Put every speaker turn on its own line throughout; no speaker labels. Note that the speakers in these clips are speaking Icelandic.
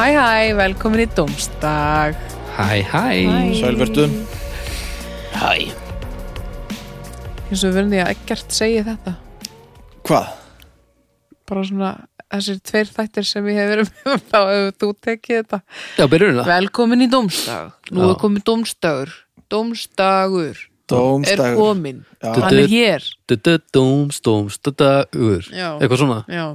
Hæ hæ, velkomin í Dómsdag
Hæ, hæ.
Sælvertu
Hæ.
eins og við verðum því að ekkert segja þetta
Hvað?
bara svona þessir tveir þættir sem ég hef verið með þá hefur þú tekið þetta
Já, byrjum við það.
Velkomin í Dómsdag Nú
Já.
er komin Dómsdagur Dómsdagur er
Dómstagur
komin
Já.
Hann er hér
Du-du-dúms, dúms, du-du-ur.
Já.
Eitthvað svona.
Já,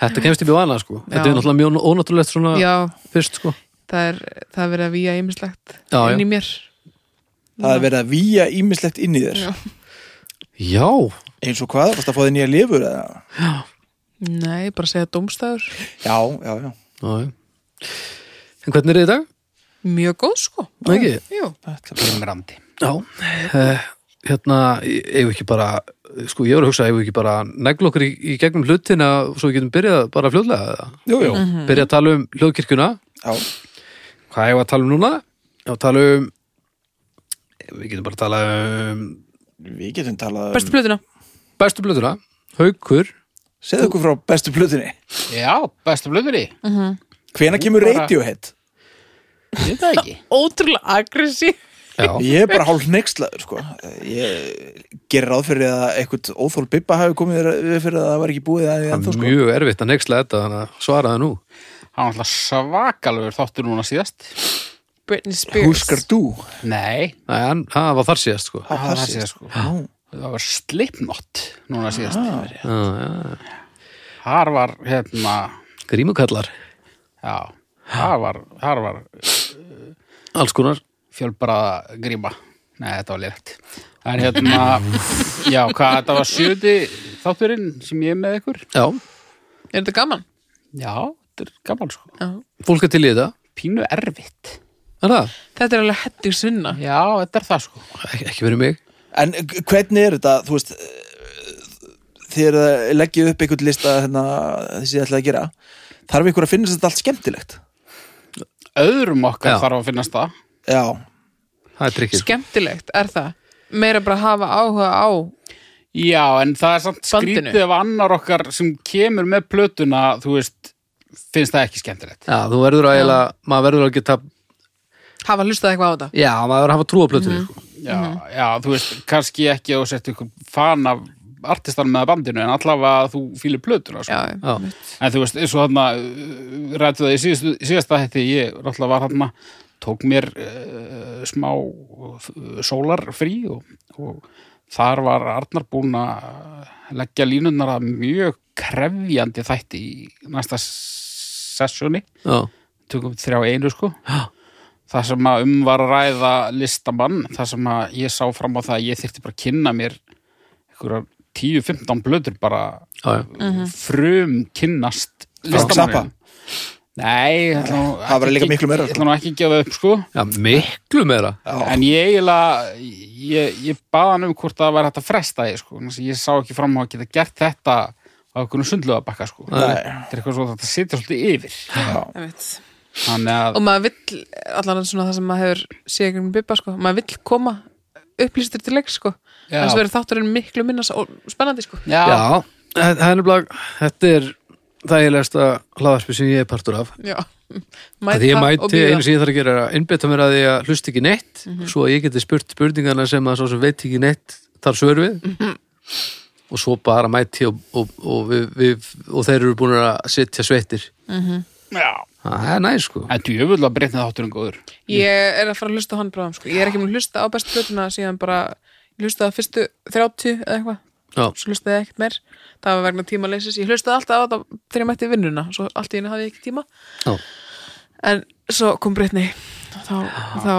Þetta kemst í bjóðana, sko. Þetta
Já.
er náttúrulega mjög ónáttúrulegt svona
Já
fyrst, sko.
það er, það er verið að víja ýmislegt
Já, já.
inn í mér
Það er verið að výja ímislegt inn í þér
Já.
Já.
Eins og hvað? Varst að fá þér nýja lifur eða?
Nei, bara segja Dómsdagur
Já, já,
Já.
já
já. En hvernig er þið í dag?
Mjög góð sko
Nei, Ekki?
Jú,
Þetta er-
Brimrandi. Já. Uh, hérna, eigum við ekki bara, sko, ég voru að hugsa, eigum við ekki bara neglu okkur í, í gegnum hlutina svo við getum byrjað bara fljóðlega eða?
Jú, jú
Mhm.
Byrja að tala um hljóðkirkjuna.
Já,
Hvað hefur að tala um núna? Já, tala um, við getum bara að tala um
við getum talað
bestu
um
plötuna
bestu blöðuna, haukur
Segðu okkur frá bestu plötunni
Já, bestu blöðveri,
Hvena kemur
Bara-
Radiohead?
ég veit það ekki.
Ótrúlega aggressív
já,
Ég er bara hálf neykslaður, sko Ég gerir ráð fyrir að eitthvað óþól Bibba hafi komið þér við fyrir að það var ekki búið að því
það
ennþá,
er
sko
mjög erfitt að nexla þetta þannig að svara það nú
Hann var alltaf svakalur þáttur núna síðast.
Britney Spears
Húskar þú?
Nei,
Nei, hann, hann var þar síðast sko já,
það var síðast sko. Það var slipnott núna síðast.
já.
Þar var, hérna,
grímukallar,
já, þar var, þar var
alls konar
fjölbraða gríma. Nei, þetta var lirætt. En hérna, já, hvað, þetta var sjöti þátturinn sem ég er með ykkur.
já,
Er þetta gaman?
Já, þetta er gaman sko.
Já.
fólk er til í þetta
Pínu erfitt.
er það,
Þetta er alveg hettig svinna
Já, þetta er það sko.
Ek, ekki verið mig
En hvernig er þetta, þú veist þegar það leggjum upp einhvern lista hérna, þessi ætlaði að gera þarf ykkur að finna þetta allt skemmtilegt
Öðrum okkar
Já.
þarf að finnast það.
Já,
það er trikkir,
Skemmtilegt, er það? Meira bara hafa áhuga á
Já, en það er samt
Bandinu.
skrítið ef annar okkar sem kemur með plötuna, þú veist, finnst það ekki skemmtilegt.
já, þú verður að eiginlega, maður verður að geta
hafa hlustað eitthvað á þetta
já, maður verður að hafa trú á plötunni sko.
Já, já, þú veist, kannski ekki að þú sett ykkur fan af artistanum með bandinu, en allavega að þú fýlir plötuna. Sko.
Já,
já,
En þú veist, eins og þarna, uh, rættu það í síðast, síðasta hætti, ég náttúrulega var þarna, tók mér uh, smá uh, sólarfrí og, og þar var Arnar búinn að leggja línunar að mjög krefjandi þætti í næsta sessjóni.
já,
tökum þrjá í einu sko það sem að um var að ræða listamann það sem að ég sá fram á það að ég þyrfti bara að kynna mér einhverjar 10-15 blöður bara
já, já.
Mhm.
frum kynnast
Zappa?
listamann Nei, ég ætla nú
það var
ekki-
líka miklu meira,
Ég ætla nú ekki að gefa upp sko
já, miklu meira
En ég eiginlega, ég, ég baða hann um hvort það var hægt að fresta því sko Þannig að ég sá ekki fram á að geta gert þetta á einhvern sundlöðabakka sko Þetta er eitthvað svo að þetta sitja svolítið yfir
einmitt.
Þannig að
Og maður vill, allan svona það sem maður hefur séð ekki um bibba, sko, maður vill koma upplýstur til leik, sko
Já.
Þannig verður þátturinn miklu minna s- og spennandi, sko
já, það það er nefnilega þetta er þægilegasta hlaðarpi sem ég er partur af
Já,
Að því ég
og
mæti,
bíða Mhm.
einu sem ég þarf að gera er að innbytta mér að því að hlusta ekki neitt svo að ég geti spurt spurningana sem að svo sem veit ekki neitt þar svör við
Mhm.
og svo bara mæti og, og, og, við, við, og þeir eru búin að setja sveittir
já.
það er næ sko
En djöfull að breytna þátturinn góður.
Ég er að fara að hlusta á hann bráðum, sko Ég er ekki með að hlusta á bestu hlutuna síðan bara ég hlustaði á fyrstu 30 eða eitthvað
Já.
svo hlustaði ég ekkert meir það var vegna tíma leysis, ég hlustaði alltaf á þetta þegar ég mætti í vinnuna, svo allt í henni hafði ég ekki tíma
Já.
en svo kom Brittany þá, þá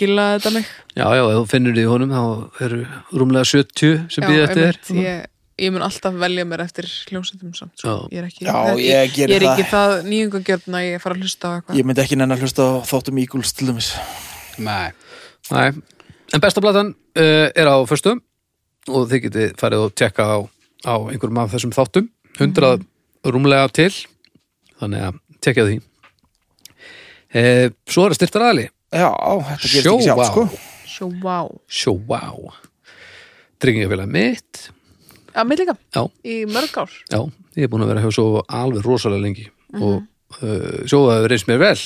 gillaði þetta mig
já, já, ef þú finnur þið í honum þá eru rúmlega 70 sem býða eftir þér
einmitt, ég, ég mun alltaf velja mér eftir hljómsveitum samt, sko.
Já.
ég er ekki
Já,
það,
ég
ég,
geri
er ekki það,
það.
það nýjungagjörn að ég fara að hlusta á eitthvað
ég myndi ekki nenn að hlusta á þáttum Eagles til dæmis
Nei.
Nei. en besta platan uh, er á förstum og þið getið farið og tekka á, á einhverjum af þessum þáttum 100
Mhm.
rúmlega til þannig að tekja því uh, svo er að styrta ræðli
Já, á, þetta gerist ekki sjálf,
Sjóvá.
sko
svo vá,
Sjóvá Tryggingafélag mitt
að mig líka
Já.
í mörg ár
Mhm.
Já, ég er búin að vera að hefa svo alveg rosalega lengi og uh, sjóðaður reynst mér vel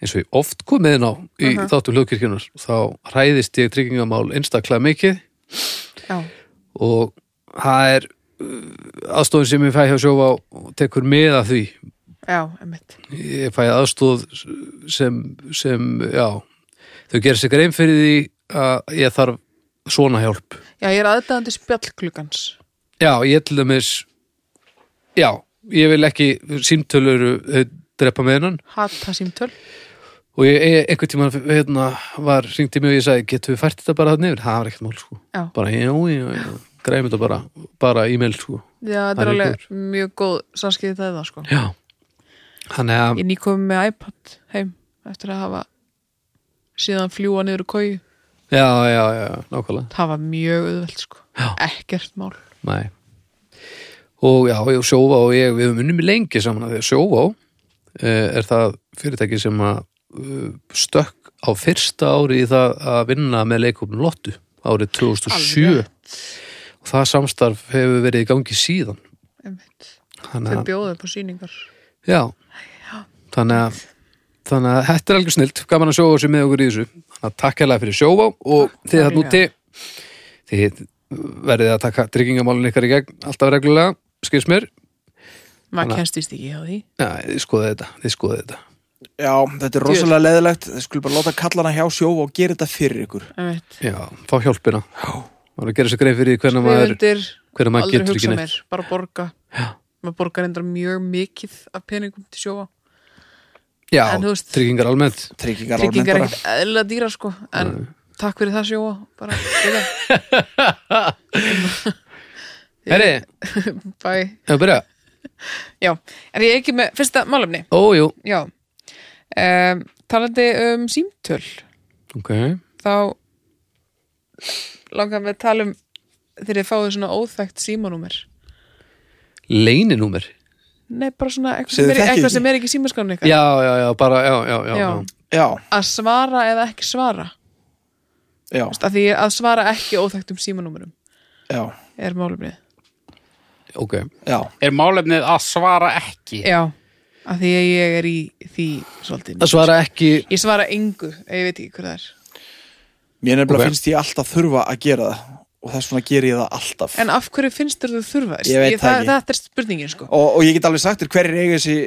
eins og ég oft komið inn á í
Mhm.
þáttum hljóðkirkjunar þá hræðist ég tryggingamál einstaklega mikið
já,
og það er uh, aðstofin sem ég fæ hjá sjófa og tekur með að því
já, emmitt
ég fæ aðstóð sem, sem já, þau gerir sig grein fyrir því að ég þarf svona hjálp
Já, ég er aðdæðandi spjallklugans
já, ég til dæmis já, ég vil ekki símtölur eh, drepa með hennan
Hata símtöl
og ég, ég einhvern tímann hérna, var ringdi mig og ég sagði, getum við fært þetta bara það niður, það var ekkert mál sko
Já,
bara, já, já, já, græmi þetta bara bara e-mail sko,
já þetta
Það er
er alveg mjög góð samskipti það það sko
já þannig að,
Ég nýkomi með iPad heim eftir að hafa síðan fljúa niður í kói
já, já, já, nákvæmlega
Það var mjög auðvelt sko
Já.
Ekkert mál
Nei. Og já, ég sjófa og ég, við höfum unnum lengi saman að því að sjófa er það fyrirtæki sem að eh, stökk á fyrsta ári í það að vinna með leikopnum Lottu árið 2007
Alveg.
og það samstarf hefur verið í gangi síðan.
Einmitt. Þau
Þannig að,
bjóðu upp á sýningar
já, þannig að Þannig að þetta er algjör snilt, gaman að sjófa sér með okkur í þessu. Þannig að takk hérlega fyrir sjófa og þið þarna úti, þið verðið að taka tryggingamálun ykkar í gegn alltaf reglulega, skils mér.
Maður kennst víst ekki hjá því
Já, þið skoðið þetta, þið skoðið þetta.
Já, þetta er rosalega leðilegt Þið skulle bara láta kallana hjá sjófa og gera þetta fyrir ykkur
Einmitt.
Já, fá hjálpina. Já. Maður að gera sér greið fyrir því hvernig maður,
Skrifundir,
hvernig maður
aldrei
getur
hugsa
ekki
mér
neitt.
Bara borga
Já.
Maður borgar endur mjög mikið af peningum til sjóa
Já,
En þú veist-
tryggingar almennt.
Tryggingar almennt
Tryggingar er
bara.
ekkert eðla dýra sko En takk fyrir það sjóa Bara, byrja,
Herri,
bæ
hefur byrjað?
Já, er ég ekki með fyrsta málumni?
Ójú.
Já um, Talandi um símtöl
Ok.
þá langar við að tala um þegar þið fáið svona óþægt símanúmer
Leyninúmer.
Nei, bara svona eitthvað
Sem
sem,
þið
er,
þekkið
eitthvað
ekki.
sem er ekki símaskránu ykkar
Já, já, já, bara, já, já, já.
Já.
já.
Já,
Að svara eða ekki svara
já,
að því að svara ekki óþægtum símanúmerum
já,
er málumnið
Ok.
já
Er málefnið að svara ekki?
Já, að því að ég er í því svolítið
Það svara ekki,
Ég svara engu, ef ég veit ekki hver það er
Mér nefnilega
Ok.
finnst ég alltaf þurfa að gera það og þess vegna ger ég það alltaf
En af hverju finnst þér þú þurfa? þess?
Ég veit það
það
ekki.
Þetta er spurningin sko
og, og ég get alveg sagt þér hverjir eiga þessi,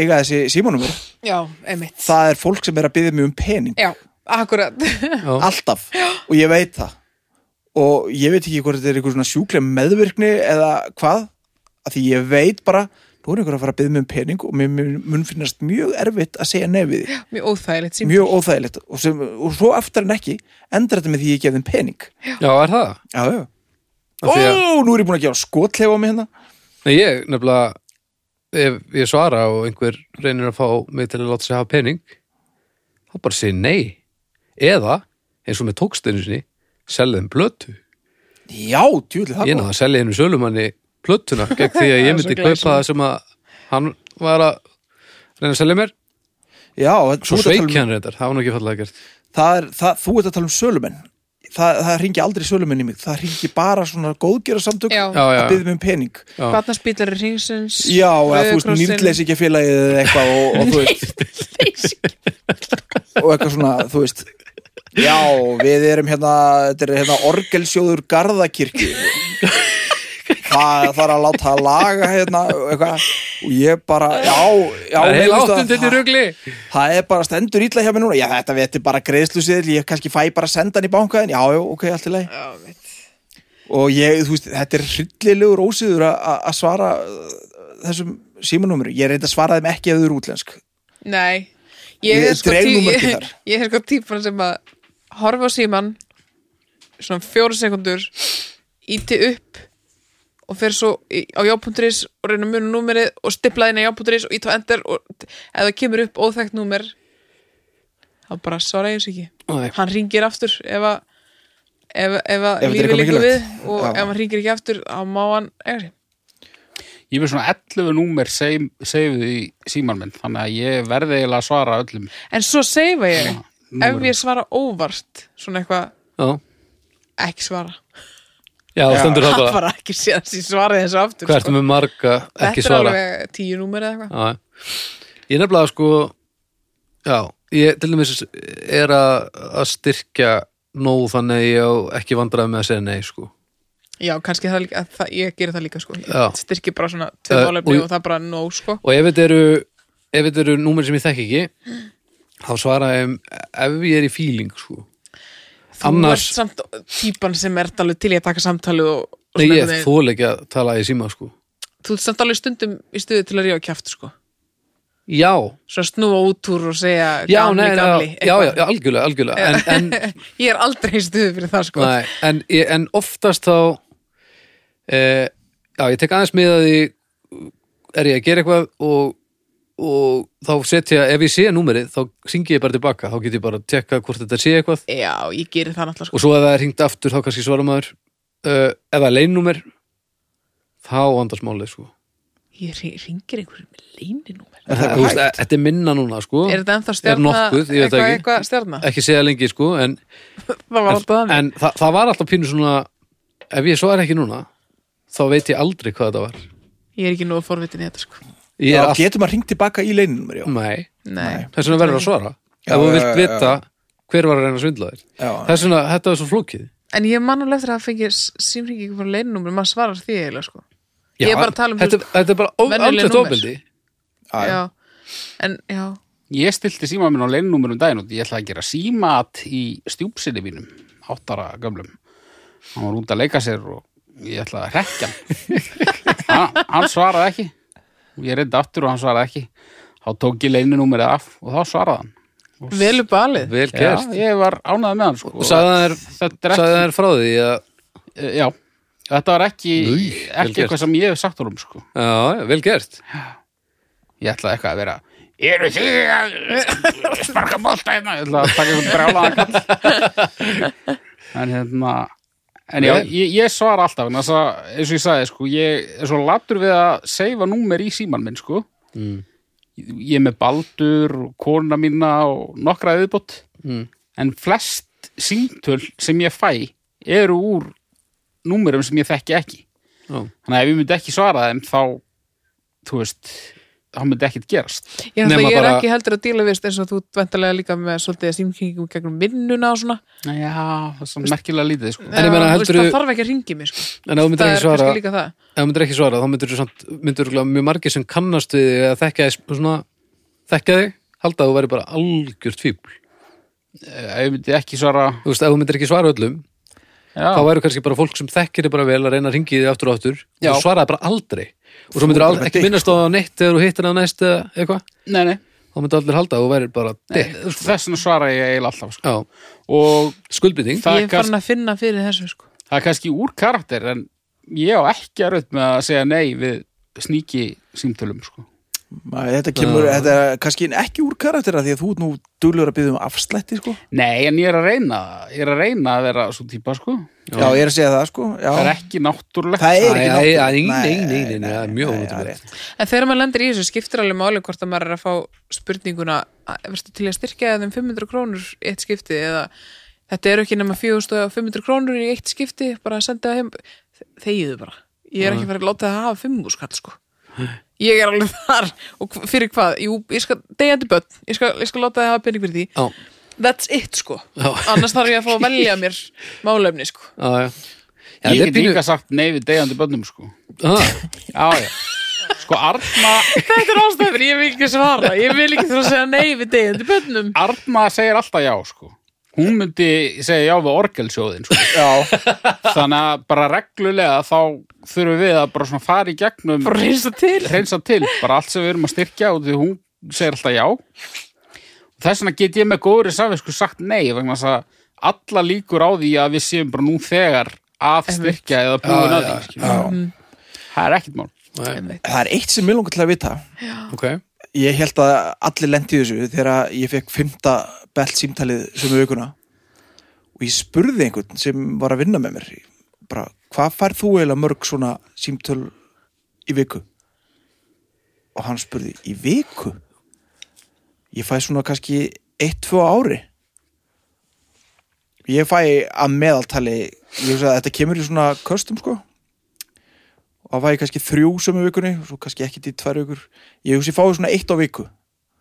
eiga þessi símanumur
Já, einmitt
Það er fólk sem er að byggja mig um pening
Já, akkurat
alltaf og ég veit það og ég veit ekki hvort þetta er einhver svona sjúklega meðvirkni eða hvað að því ég veit bara nú er einhver að fara að byggja mig um pening og mér mér mun finnast mjög erfitt að segja nefið því
Mjög óþægilegt símanúmer
mjög óþægilegt og, sem, og svo aftar en ekki endur þetta með því ég gef þeim pening
já, er það?
Já, já
Af því að-
Ó, nú er ég búin að gefa skotlefa á mig hérna
Nei, ég nefnilega, ef ég svara og einhver reynir að fá mig til að láta sig hafa pening, þá bara segi nei. Eða, eins og með tókstinu sinni, selja þeim blötu.
Já, djúli það
ég náði að selja einu sölumanni plötuna gegn því að
Það
ég
er svo
myndi
glæsilegt.
kaupa það sem að hann var að reyna að selja mér
Já, en
svo
þú ert að tala um-
sveik hann reyndar, það var nú ekki fallega gert
það er, það, Þú ert að tala um sölumenn Það, það ringi aldrei sölumenn í mig Það ringi bara svona góðgerarsamtök
Já.
já, já,
að byggja mig um pening
Já.
Batnarspílari ringsins
Já, eða þú veist, nýrleysingafélagið eða eitthvað og, og þú veist og eitthvað svona, þú veist Já, við erum hérna þetta er hérna orgelsjóður Garðakirkju Það þarf að láta að laga hérna eitthvað og ég bara, já, já
það er
mér
heil
finnst
áttund þetta í
það,
rugli
það er bara stendur ítla hjá mér núna, já þetta veti bara greiðslusiðil, ég kannski fæ bara sendan í bankaðin, já, já, ok, allt í lagi og ég, þú veist, þetta er hryllilegur ósýður að- að að svara uh, þessum símanúmeru ég reyndi að svara þeim ekki ef þau eru útlensk
Nei Ég
Ég
er sko,
dreg
tí,
nú mörkin
ég,
þar.
ég er sko típan sem að horfa á síman svona fjóra sekundur íti upp og fer svo í, á jápundurins og reyna munu númerið og stipla inn á jápundurins og ít á ender og t- ef það kemur upp óþægt númer þá bara svara ég þessu ekki
Nei.
hann ringir aftur ef að ef, ef að
Ef þetta er
lífið
eitthvað
líka við
mikilvægt.
og
Já.
ef hann ringir ekki aftur þá má hann ekki.
Ég er með svona 11 númer seifið í síman minn, þannig að ég verði eiginlega að svara öllum.
en svo seifa ég ef
númerum.
ég svara óvart svona eitthvað
já,
ekki svara
já, það stendur það
hann
bara
bara ekki séð þessi svarið þessu aftur sko.
hvað ertu með marga
Þetta
ekki
er
svara já,
alveg tíu númer eða eitthvað
já. Ég nefnilega sko Já, ég til dæmis er að, að styrkja nóg þannig að ég á ekki vandræði með að segja nei sko
Já, kannski það líka, það, ég gerir það líka sko
Já.
Ég styrki bara svona tvö
Eh,
málefni
og-
og það er bara nóg sko
Og ef þetta eru ef þetta eru númer sem ég þekki ekki þá svara ég um ef ég er í fíling sko
Þú
Annars-
ert samt típan sem er alveg til í að taka samtalið og, og
Nei, ég
svona einhvern veginn.
þóla ekki að tala í síma sko
Þú ert samt alveg stundum í stuði til að rífa kjaft sko
Já,
Svona snúa út úr og segja
já,
gamli,
nei,
gamli
já, já,
eitthvað.
já, algjörlega, algjörlega en, en,
Ég er aldrei í stuði fyrir það sko
Nei, en, ég- en oftast þá e, já, ég tek aðeins með að því er ég að gera eitthvað og, og þá setja, ef ég sé númerið þá syngi ég bara tilbaka, þá get ég bara að tekka hvort þetta sé eitthvað
Já, ég gerir það náttúrulega sko
og svo ef það er hringt aftur þá kannski svara maður uh, ef það er leinnúmer þá andast málið sko
Ég hring- ringir einhverjum með leyninúmer
Er það
Þú veist,
hægt?
e- þetta er minna núna sko
Er þetta ennþá stjarna
nokkuð, ég veit
eitthvað,
ekki.
eitthvað stjarna?
ekki segja lengi sko en,
Það var alltaf
en,
þannig
en það, það var alltaf pínu svona ef ég svara ekki núna þá veit ég aldrei hvað þetta var
Ég er ekki nógu forvitin í þetta sko
ég er
Já,
Mm. alltaf
getur maður hringt tilbaka í leininumur, já.
Nei,
Nei,
þess vegna verður að svara
Já,
ef þú
já,
vilt
já,
vita hver var að reyna að svindla þér
Já,
þess vegna, þetta var svo flókið
en ég man alveg eftir að það fengi símringingu frá leinumri, maður svarar því eiginlega sko Ég er
Já,
bara að tala um,
þetta, þetta er bara
venjuleg
alveg
númer.
tófbildi
já, já.
Já, en já
Ég stilti síma minn á leinnúmer um daginn og ég ætlaði að gera símat í stjúpsinni mínum, áttara gömlum. Hann var út að leika sér og ég ætlaði að rekja hann. hann. Hann svaraði ekki. Og Ég reyndi aftur og hann svaraði ekki. Þá tók ég leininúmerið af og þá svaraði hann.
Velu balið
vel gert
Já, ég var ánæði með hann. Sko.
og sagði hann
Þetta
þær- sagði
er ekki,
hann þær frá því að,
já, þetta var ekki,
Nei, vel
ekki
gert.
eitthvað sem ég hef sagt úr um, sko.
já, já, vel gert
Ég ætlaði eitthvað að vera Eru þið að sparka bolta hérna? Ég ætlaði að taka einhvern brjálaðan kall En hérna En já,
Vel.
ég, ég svara alltaf en þess að, eins og ég sagði, sko, ég er svo latur við að seifa númer í síman minn, sko
Mm.
Ég er með baldur og kona mína og nokkra auðbútt
Mm.
en flest síntöl sem ég fæ eru úr númerum sem ég þekki ekki
Já.
Þannig að ef ég myndi ekki svara þeim þá, þú veist, þá myndi ekkert gerast.
Ég, er
Nema
náttúrulega- ég er
bara-
ekki heldur að díla við eins og þú vendarlega líka með svolítið símringingum gegnum minnuna og svona
Já, það er svona merkilega lítið, sko.
En ég meina,
Já, þú veist,
heldurðu-
Það þarf ekki að ringi mig sko
en ef þú myndir
Það
ekki
er
svara,
kannski líka það
ef þú myndir ekki svara þá myndir þú samt, myndir þú mjög margir sem kannast við þig að þekka þig svona, þekka þig, halda að þú væri bara algjört fíbl,
Ef ég myndi ekki svara,
þú veist, ef þú myndir ekki svara öllum
já,
þá væri kannski bara fólk sem þekkir þig bara vel að reyna að ringi þig aftur og aftur
Já.
og þú svaraði bara aldrei og svo myndir
bara
aldrei
með
ekki
dick,
minnast á það neitt þegar þú hittir það næst eða eitthvað
nei, nei,
þá myndir allir halda að þú væri bara dick
þess vegna svara ég eiginlega alltaf, sko.
Já,
Og
skuldbytting
það
Ég
er,
er
kannski,
farin að finna fyrir þessu sko
það er kannski úr karakter, en ég á ekki að raut með að segja nei við sníki símtölum, sko.
Maður, þetta kemur, þetta er kannski ekki úr karaktera því að þú ert nú duglur að byggja um afslætti, sko.
Nei, en ég er að reyna, ég er að reyna að vera svo típa, sko.
Já, ég er að segja það, sko. Já.
Það er ekki náttúrulegt.
Það er
Æ, æ,
ekki
æ,
náttúrulega.
nei, nei, nei, nei, það er mjög
það er
ónáttúrulegt.
rétt.
En þegar maður lendir í þessu skiptir alveg máli hvort að maður er að fá spurninguna að- veistu, til að styrkja þeim 500 krónur í eitt skipti eða þetta eru ekki nema 4500 krónur í eitt skipti bara að senda það heim þegiðu bara, ég er ekki fyrir að láta það hafa 5 skall sko ég er alveg þar og hv- fyrir hvað, jú, ég skal degjandi börn, ég skal, ég skal láta það hafa pening fyrir því
Já,
that's it sko,
Já.
annars þarf ég að fá að velja mér málefni sko
já, já Já,
Ég
þetta er
get
pínu-
líka sagt nei við deyjandi bönnum, sko.
Ah,
Já, já. Sko, Arna,
þetta er ástæður, ég vil ekki svara ég vil ekki þurfa að segja nei við degjandi börnum
Arna segir alltaf já, sko. Hún myndi segja já við orgelsjóðin, sko.
Já,
Þannig að bara reglulega þá þurfum við að bara svona fara í gegnum,
bara reynsa til
reynsa til, bara allt sem við erum að styrkja og því hún segir alltaf já. Og þess vegna get ég með góðri samvisku sagt nei, vegna þess að alla líkur á því að við séum bara nú þegar að styrkja eða búin að því. skilur.
Mhm.
Það er ekkert mál.
nei,
það er eitt sem mér langar til að vita.
ok
Ég held að allir lendi í þessu þegar ég fekk fymta belt símtalið sömu aukuna og ég spurði einhvern sem var að vinna með mér bara, hvað fær þú eiginlega mörg svona símtöl í viku? Og hann spurði, í viku? Ég fæ svona kannski eitt, tvö á ári Ég fæ að meðaltali ég hugsa að þetta kemur í svona köstum sko og það var ég kannski þrjú sömu vikunni og svo kannski ekki til tvær vikur ég hugsi fáið svona eitt á viku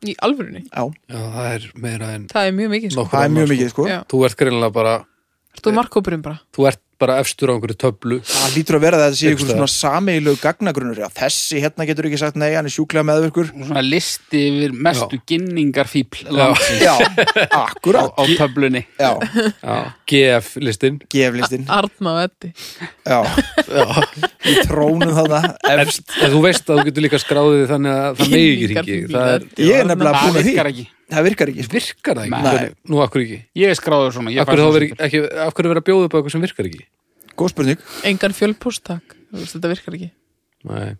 í alvörunni,
já,
Já, það er meira en
það er mjög mikið sko.
nokkur
það er
annað,
mjög
sko.
mikið sko
Já.
Þú ert greinlega bara,
Þú markkópurinn bara
þú ert bara efstur á einhverju töflu
það lítur að vera að þetta sé einhvern
Einhvers
svona sameigilegu gagnagrunnur já, þessi hérna getur ekki sagt nei, hann er sjúklega meðvirkur
svona listi yfir mestu ginningarfíbl landsins
já,
á,
akkurat
á töflunni
já,
GF-listin
geflistin
Arna og Eddi
já, við trónum þarna
Efst, en þú veist að þú getur líka skráðið þig þannig að það megi ekki ringi Það er,
Kynningarfílar.
Ég er nefnilega-
það
búin að því.
virkar ekki
það virkar ekki sko.
virkar það ekki?
Nei.
Hvernig- Nú, akkur ekki?
ég er skráður svona ég
Akkur
fæ
þá
svona
veri ekki, akkur vera að bjóða upp á eitthvað sem virkar ekki?
góð spurning
Engan fjölpóstak, þetta virkar ekki
Nei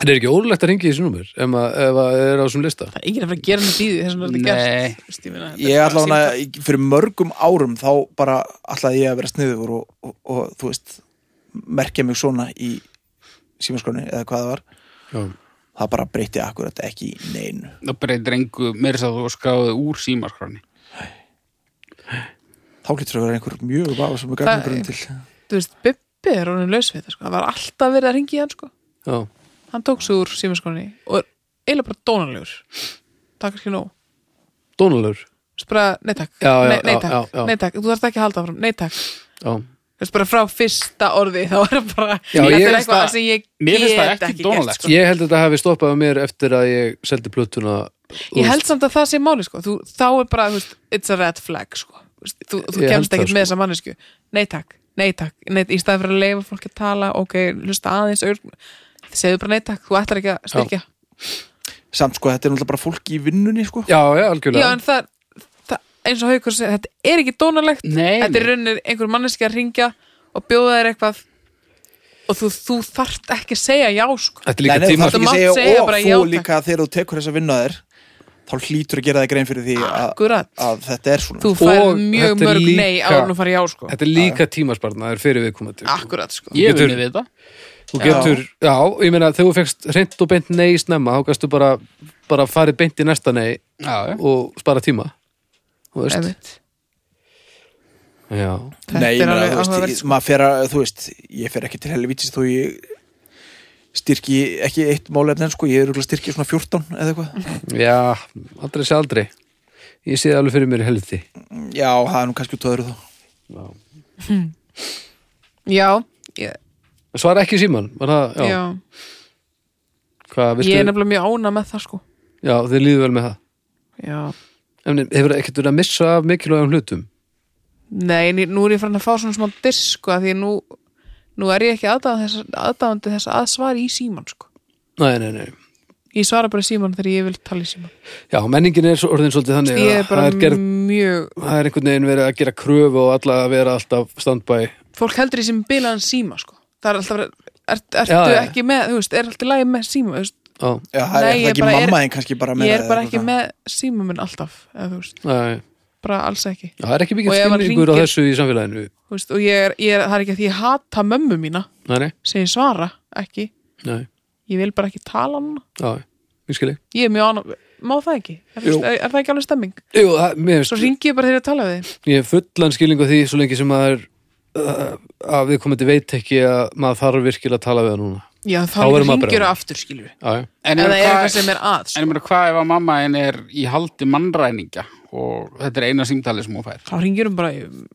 En er ekki ólegt að ringi í þessu númer ef maður ef maður er á þessum lista?
Það er enginn að fara að gera neitt í því þessum er þetta
Nei.
gert Vist, ég meina, þetta er
ég
bara
allavega,
símtal.
ég- fyrir mörgum árum þá bara ætlaði ég að vera sniður og, og, og þú veist merkja mig svona í símaskroni eða hvað það var
Já.
það bara breytti akkurat ekki í neinu
það breytir engu meir þess að þú skráðu úr símaskráni
þá getur það að vera einhver mjög vafa sem er gagnagrunin til
Þú veist, Bibbi er honin laus við þetta sko. Það var alltaf verið að ringi í hann sko.
Já.
Hann tók sig úr símaskonni og er eiginlega bara dónalegur Takk ekki nóg
Dónalur.
Þú veist bara, nei takk,
Já, já,
nei, nei,
já,
takk.
já, já.
nei takk Þú þarft ekki að halda fram, nei takk
Já.
Þú veist bara frá fyrsta orði þá er bara
Já, ég
Þetta er
finnst
eitthvað
það-
sem ég
mér finnst það
get
ekki
ekki
dónalegt,
gert sko.
Ég held að þetta hafi stoppað á mér eftir að ég seldi plötuna
Ég held samt að það sé máli sko. þú, þá er bara, þú veist, it's a red flag sko. Þú veist, þú, þú
Ég held
kemst
það,
ekkert
sko.
með þessa mannesku nei takk, nei takk, nei, í staði fyrir að leifa fólki að tala, ok, hlusta aðeins aur, segðu bara nei takk, þú ætlar ekki að styrkja já,
samt sko, þetta er náttúrulega bara fólk í vinnunni sko.
Já, já, algjörlega.
en það, það eins og haukur segir, þetta er ekki dónalegt
Nei,
þetta er
nei.
raunir einhver manneski að ringja og bjóða þér eitthvað og þú, þú þarft ekki að segja já sko.
Þetta er líka
Nei, nei, þú
tíma
þarft
Þú
ekki
mátt
að
segja
segja, og
bara já,
þú
takk.
líka þegar þú tekur þess að vinna þér þá hlýtur að gera það grein fyrir því að,
akkurat,
að þetta er svona sko.
þú færð
Og
mjög
þetta er
mörg
líka-
nei áður en þú farið já sko.
Þetta er líka tímasparnaður fyrir viðkomandi.
akkurat sko
ég
Getur-
vinni við þetta
Þú getur, já, ég meina þegar þú fegst reynd og beint nei snemma, þá kannstu bara, bara farið beint í næsta nei
já, já.
og spara tíma. Þú veist?
Einmitt.
Já.
Þetta
Nei,
er
ég meina,
alveg sko.
þú veist,
áhugavert,
ég- maður fer að, þú veist, ég fer ekki til helvítis þó ég styrki ekki eitt málefni en sko, ég er örugglega að styrki svona 14 eða
Mhm.
eitthvað.
Já, aldrei sé aldrei. Ég sé það alveg fyrir mér í helði.
Já, það er nú kannski út á öðru þá.
Já.
Já, ég,
Svara ekki síman, var það,
já,
já. Hvað, viltu,
ég er nefnilega mjög ána með það sko
já, þið líður vel með það.
Já,
En hefur ekkert verið að missa af mikilvægum hlutum?
nei, en ég- nú er ég farin að fá svona smá disk sko, af því að nú, nú er ég ekki aðdáðandi þess, aðdáðandi þess að svara í síman sko
Nei, nei, nei.
Ég svara bara í síman þegar ég vil tala í síman
Já, menningin er svo- orðin svolítið þannig
Ég er
að
bara
það er, gerð,
mjög
það er einhvern veginn verið að gera kröfu og alla að vera alltaf standbæ.
Fólk heldur í sem bilaðan síma sko Það er alltaf verið- ert, Ertu
Já, já.
ekki með, þú veist, er alltaf lægi með síma þú veist,
Já,
Já, það
Nei,
er
ég
það ekki
bara er-
mamma þín kannski bara með
Ég er
eða
bara ekki
eitthvað.
með síma minn alltaf eða, þú veist,
nei.
bara alls ekki
Já, Það er ekki mikið
Og ef hann
skilningur á
hringir-
þessu í samfélaginu
Þú veist, Og ég er, ég er, það er ekki að því ég hata mömmu mína
Nei, nei,
sem ég svara ekki
nei,
ég vil bara ekki tala um hana
já, ég skilji
ég er mjög annað, má það ekki er,
Jú.
er, er það ekki alveg stemming
Jú, það, mér
svo
finnst,
ringi ég bara þegar ég tala við þig
ég hef fullan skilning á því svo lengi sem maður uh, að við komandi veit ekki að maður þarf virkilega að tala við það núna
já þá
Þá verður maður
ringir
bara-
það aftur skilur við
Já, já,
en
en það er
hvað-
eitthvað sem er að
en ég
sko.
meina hvað ef að mamma henn er í haldi mannræninga og þetta er eina símtali sem hún fær
þá ringir hún bara í-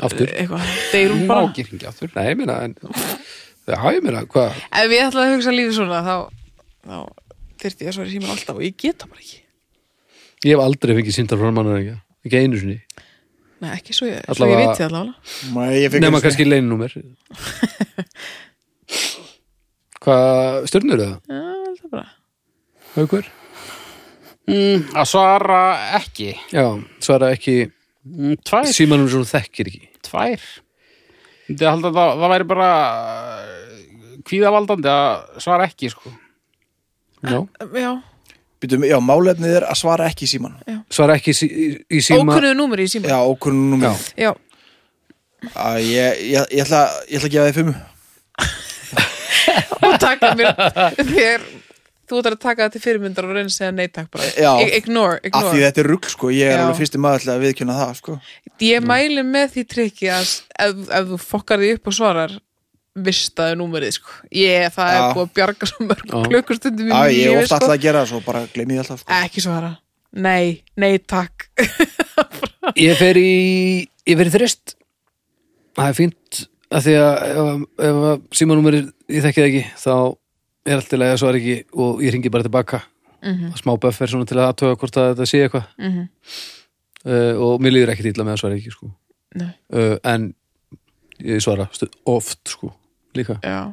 aftur
eitthvað deyr hún
hún má
bara
ekki hringja aftur
Eh, Nei, ég meina, en Já, ég meina, hvað
ef ég ætla að hugsa lífið svona þá, þá þyrfti ég að svara síma alltaf og ég geta bara ekki
Ég hef aldrei fengið síndar frá mannar ekki Ekki einu sinni,
Nei, ekki svo ég, svo ég
Allavega-
viti allavega
Nei, ég fikk
nema
einu sinni-
kannski leininúmer Hvað, stjörnur það?
Já, það er bara
Haukur?
mm, að svara ekki
Já, svara ekki
mm, tvær
símanum sem hún þekkir ekki
tvær Myndi halda að það, það væri bara uh, kvíðavaldandi að svara ekki sko.
Já,
já,
Býtum, já, málefnið er að svara ekki í síman.
svara ekki í, sí- í, í síma
ókunnuðu númur í síma
Já, okkurinn númer.
Já.
já.
Æ, Ég, ég, ég, ætla, ég ætla að gefa þið fimm.
og taka mér þér þú ætlar að taka þetta til fyrirmyndar og reyna að segja nei takk bara
Já.
I- ignore,
Af því
ignore.
þetta er rugg, sko, ég er
Já.
alveg fyrsti maður til að viðkjöna það, sko.
ég mæli með því trikki að s- ef, ef þú fokkar því upp og svarar vistaðu númerið sko. ég, það er
Já.
búið að bjarga svo mörg
Já.
klukkustundum í
Já, ég er
lífi, sko.
ofta alltaf að gera það svo bara gleymi ég alltaf sko.
ekki svara, nei, nei takk
Ég fer í, ég fer í þrist Það er fínt að því að ef, að- ef að símanúmerið ég þekki það ekki þá er allt í lagi að svara ekki og ég ringi bara tilbaka mm -hmm. smá buffer svona til að aðtöga hvort að þetta sé eitthvað mm og mér líður ekkit illa með að svara ekki sko.
Nei.
uh, en ég svara stu- oft sko líka
já,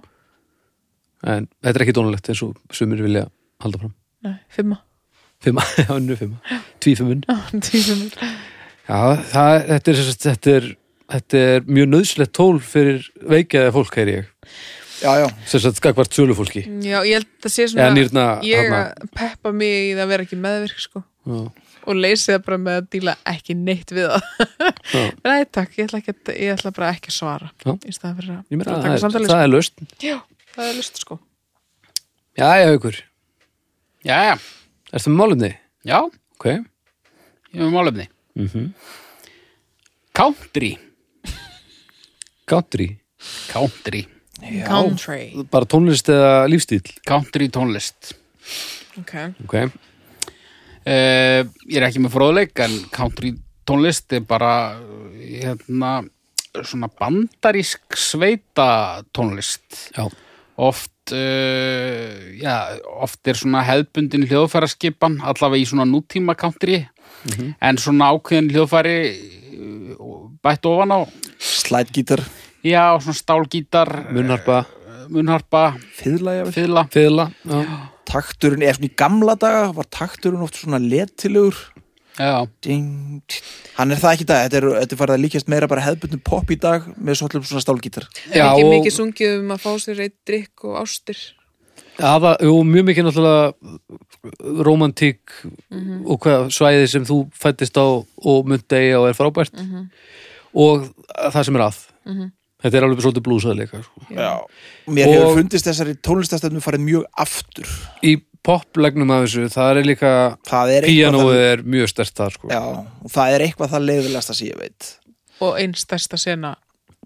en þetta er ekki dónalegt eins og sumir vilja halda fram
nei, fimma
Fimma, já, nú fimma, tvífimun
Já, tvífimmur.
Já, það, þetta, er, sem sagt- þetta, er, þetta er mjög nöðslegt tól fyrir veikjaði fólk, heyr ég.
Já, já,
Sem sagt, skakvart sölufólki.
já, ég held að það sé
Eða
svona
nýrna,
ég
hana.
að peppa mig í það að vera ekki meðvirk sko.
Já,
og leysi það bara með að díla ekki neitt við það
já.
nei takk, ég ætla, ekki, að- ég ætla bara ekki að svara
Já.
í staðan fyrir að,
Ég meina,
að
það,
taka
er,
samtalið
það er löst.
sko. já, það er lust sko
Já, já, haukur.
Já, já,
Ertu með málumni?
já,
Ok.
ég er með málefni.
Mm -hmm.
Mhm. Country.
Country.
Country.
country,
Bara tónlist eða lífstíl.
Country tónlist.
ok
Ok.
Uh, ég er ekki með fróðleik en country tónlist er bara eh, hérna svona bandarísk sveita tónlist
Já.
oft uh, já, oft er svona hefðbundin hljóðfæraskipan allavega í svona nútíma country
Mhm.
en svona ákveðin hljóðfæri eh, bætt ofan á
slætgítar
já, svona stálgítar
Munnharpa,
eh, munnharpa,
Fiðlæja vel
fiðla
fiðla. Já.
Takturinn, eða svona í gamla daga var takturinn oft svona letilugur
já,
Ding. tsk. Hann er það ekki í dag, þetta er, þetta er farið að líkjast meira bara hefðbundum pop í dag með svolítið svona stálgítar
Já,
ekki
og-
mikið sungið um að fá sér eitt drikk og ástir
Aða, jú, mjög mikið náttúrulega romantík
Mhm.
og hvað svæði sem þú fættist á og myndi og er frábært
Mhm.
og það sem er að þetta er alveg svolítið blúsað líka sko.
Já Mér hefur
Og-
fundist þessari tónlistastefnum farið mjög aftur
í poplegnum af þessu, það er líka
Það er eitthvað
píanóið
það,
er mjög stert það sko.
já, og það er eitthvað það leiðilegast að sé ég veit
og einn stærsta sena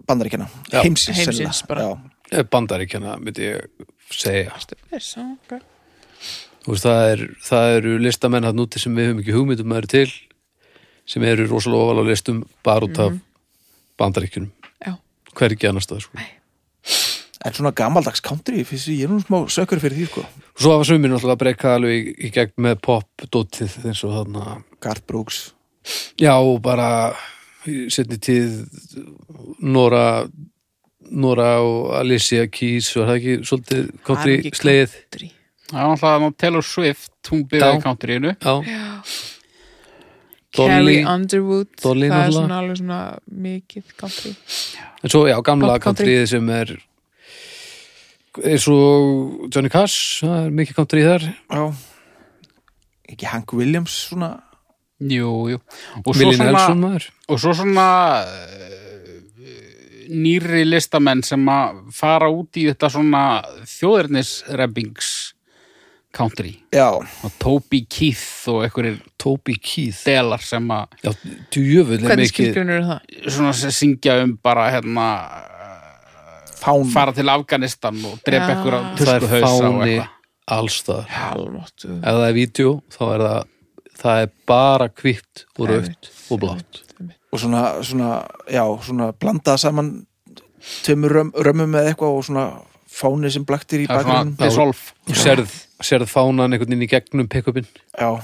Bandaríkjana,
Já.
heimsins,
Heimsins
sennilega.
bara.
Já.
bandaríkjana Eh, myndi ég segja
Ertu viss? Já, ok.
Þú veist, það, er, það eru listamenn hann úti sem við höfum ekki hugmyndum að eru til sem eru rosalega ofal á listum bara út
Mhm.
af bandaríkjunum
Já.
hvergi annars það sko.
En svona gamaldags country, finnst ég, ég er nú smá sökur fyrir því sko
og svo hafa sumir náttúrulega að breyka alveg í, í gegn með pop dótið eins og þarna
Garth Brooks
já og bara í setni tíð Nora Nora og Alicia Keys var það ekki svolítið
Það er
country
ekki
slegið
country.
það er alltaf Taylor Swift, hún
Já.
byrjaði countryinu
já, Dolly
Carrie Underwood
Dolly
það er
náttúrulega.
svona alveg svona mikið country
en svo já gamla
Pop country.
countryið sem er eins og Johnny Cash það er mikið country þar
Já Ekki Hank Williams svona
jú, jú og svo
Willie Nelson
svona,
maður
og svo svona eh, nýrri listamenn sem að fara út í þetta svona þjóðernisrebbings country
Já,
og Toby Keith og einhverjir
Toby Keith
delar sem að
já djöfull er mikið
hvernig skilgrunur er það?
svona sem syngja um bara hérna
fána
fara til Afganistan og drepa
Já.
einhverja
það er
tuskuhausa og
fáni
eitthvað
allstað
halvmáttu
ef það er vídeo þá er það það er bara hvitt og rautt og blátt
og svona, svona, já, svona blandað saman tveimur röm, römmum með eitthvað og svona fáni sem blaktir í
það er
bakgrunum
svona dissolf
og serð, serð fánan einhvern veginn í gegnum pick-upin
Já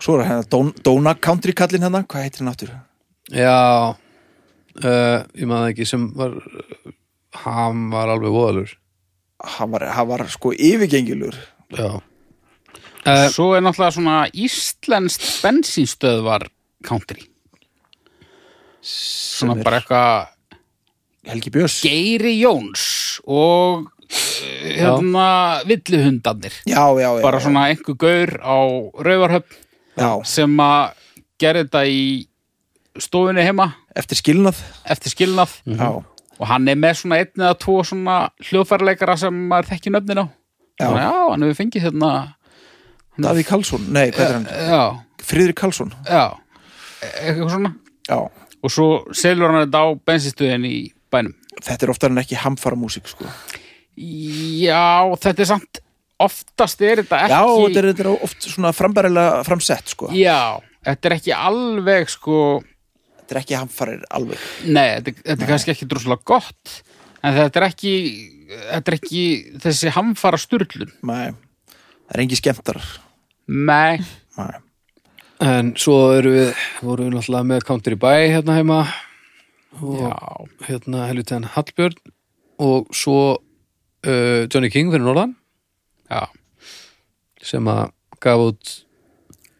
Svo er hérna Don, Dona Country kallinn hérna, hvað heitir hann aftur?
já uh, ég maður það ekki sem var hann var alveg voðalur
Hann var, hann var sko yfirgengilur
já uh,
svo er náttúrulega svona íslenskt bensínstöð var country svona
er-
bara eitthvað
Helgi Björns
Geiri Jóns og eh, hérna villuhundarnir
Já, já, já
bara
já.
svona einhver gaur á Rauvarhöfn
Já,
sem að gera þetta í stofunni heima
eftir skilnað
eftir skilnað
Já,
og hann er með svona einn eða tvo svona hljóðfærleikara sem maður þekki nöfnin á
Já.
Svona, já, hann hefur fengið hérna
Davíð Karlsson, nei, hvað er hann?
já,
Friðrik Karlsson
já, e- eitthvað svona
Já,
og svo selur hann þetta á bensinstöðin í bænum
þetta er oftar en ekki hamfara músík sko.
Já, þetta er samt oftast er þetta ekki
já, þetta er, þetta er oft svona frambærilega framsett sko.
Já, þetta er ekki alveg sko
þetta er ekki hamfarir alveg
Nei, þetta, þetta er kannski ekki droslega gott en þetta er ekki þetta er ekki þessi hamfara styrlun
Nei. það er engi skemmtar
Nei,
Nei.
En svo eru við, vorum við náttúrulega með Country Bæ hérna heima og hérna helviti hann Hallbjörn og svo uh, Johnny King fyrir Norðan
já,
sem að gaf út,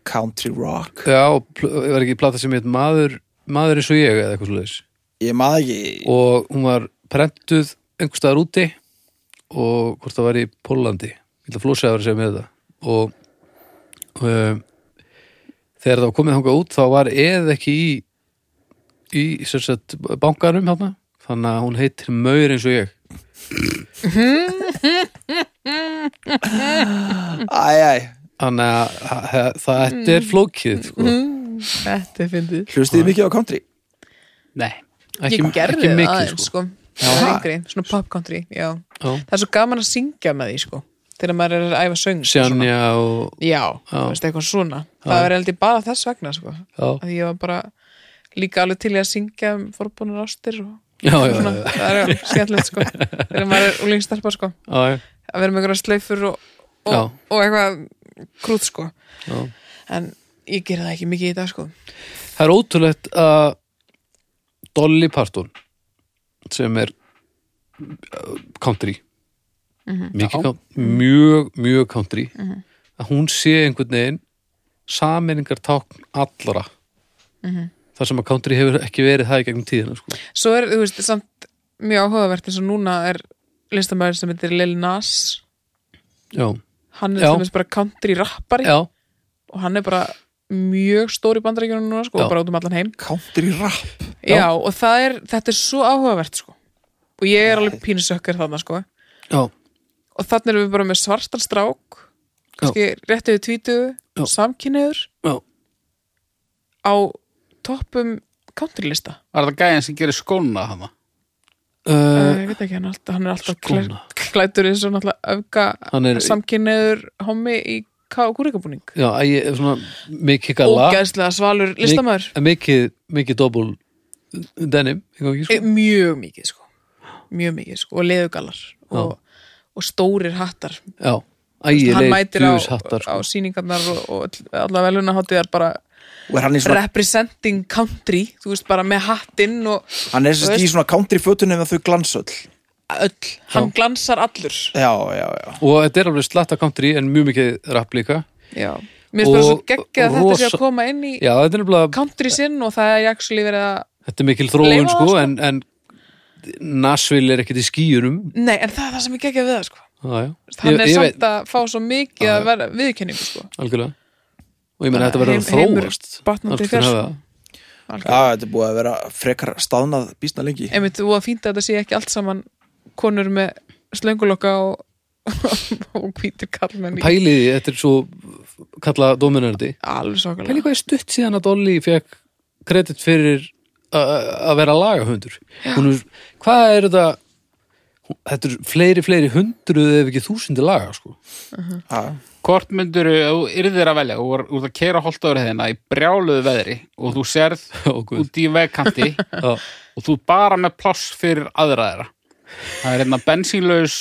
country rock
já, pl- var ekki plata sem heit Maður, Maður eins og ég eða eitthvað svoleiðis
ég maður ekki
og hún var prentuð einhvers staðar úti og hvort það var í Pólandi ég ætla flósið að vera að segja með þetta og um, þegar það var komið þangað út þá var eð ekki í í sem sagt, bankanum hana. þannig að hún heitir Maur eins og ég
æ, æ,
þannig að það- það
Mm.
þetta er flókið sko.
Mhm. Þetta er fyndið
hlustið þið mikið á country
nei
ekki,
Ég gerði
ekki
það
mikið sko.
aðeins sko, Það er yngri, Svona pop country, já
Já.
Það er svo gaman að syngja með því sko Þegar maður er að æfa söng og svona.
Sjanja og
Já,
Já.
þú veist eitthvað svona Það er heldur bara þess vegna sko
já,
Því ég var bara líka alveg til í að syngja um forbúnar ástir og
já, já, já,
svona, það er skemmtilegt sko þegar maður er úlingstarpa sko
já, já.
að vera með einhverja sleifur og, og,
Já.
og eitthvað krút sko
Já.
en ég gerði það ekki mikið í dag sko
Það er ótrúlegt að Dolly Parton sem er uh, country
Mhm.
mikið country, mjög, mjög country að hún sé einhvern veginn sameiningar tákn allra
Mhm.
þar sem að country hefur ekki verið það í gegnum tíðina sko.
svo er, þú veist, samt mjög áhugavert eins og núna er listamæður sem heitir Lil Nas
Já,
hann er
Já.
þess bara country rappari
já,
og hann er bara mjög stór í bandarækjunum núna sko,
Já.
bara út um allan heim
country rap
já, og það er, þetta er svo áhugavert sko og ég er alveg pínusökkar þarna sko
já,
og þannig erum við bara með svartan strák kannski rétt yfir
Já.
tvítugu samkynniður
já
á toppum countrylista
Var þetta gæðin sem gerir skóna hana?
uh,
uh,
ég veit ekki, hann, er alltaf, hann er alltaf
Skóna.
klæ- klæddur eins og náttúrulega
Hann er-
öfga samkynniður hommi í kúrikabúning
já, að ég er svona mikið gala
ógæðslega svalur listamæður
mik- mikið, mikið dobbul denim, einhvern veginn sko.
Eh, mjög mikið sko mjög mikið sko, og leðugalar og, og stórir hattar
já,
hann
ægileg sko.
mætir á,
djúshattar
á síningarnar og, og alla velunaháttiðar bara
og er hann í svona,
representing country þú veist bara með hattinn og
hann er
Þú
sérst í svona country fötunum með þau glansöll
öll, hann glansar allur
já, já, já
og þetta er alveg slatta country en mjög mikið rap líka
já, mér finnst bara svo
Og-
geggja
og
að þetta sé
rosa-
að koma inn í
já, þetta er nefnilega,
country sinn og það er actually verið að
þetta er mikil þróun
Leifa það,
sko,
sko.
en, en Nashville er ekkit í skýjurum
nei, en það er það sem er geggjað við það sko
já, já.
hann
Ég-
er
ég
samt að fá svo mikið að vera viðkenningu sko
algjörlega og ég menn að þetta verður
Heim-
að
heimur
þróast
batnandi
Allt fyrir
fjars-
það.
já, þetta er búið að vera frekar staðnað býstna lengi
einmitt, og að fínta að þetta sé ekki allt saman konur með slöngulokka og og hvítir kallmenn í-
pælið, í- þetta er svo kalla dominandi
alveg
pælið
svakalega
hvað er stutt síðan að Dolly fekk kredit fyrir a- að vera lagahundur hún er, hvað er þetta þetta er fleiri, fleiri hundruð ef ekki þúsundir laga sko.
já,
Hvort myndur þú yrðir að velja og voru út að keira holtaður þeirna í brjáluðu veðri og þú serð
Ó, guð.
út í vegkanti
Já.
og þú bara með pláss fyrir aðra þeirra Það er hérna bensínlaus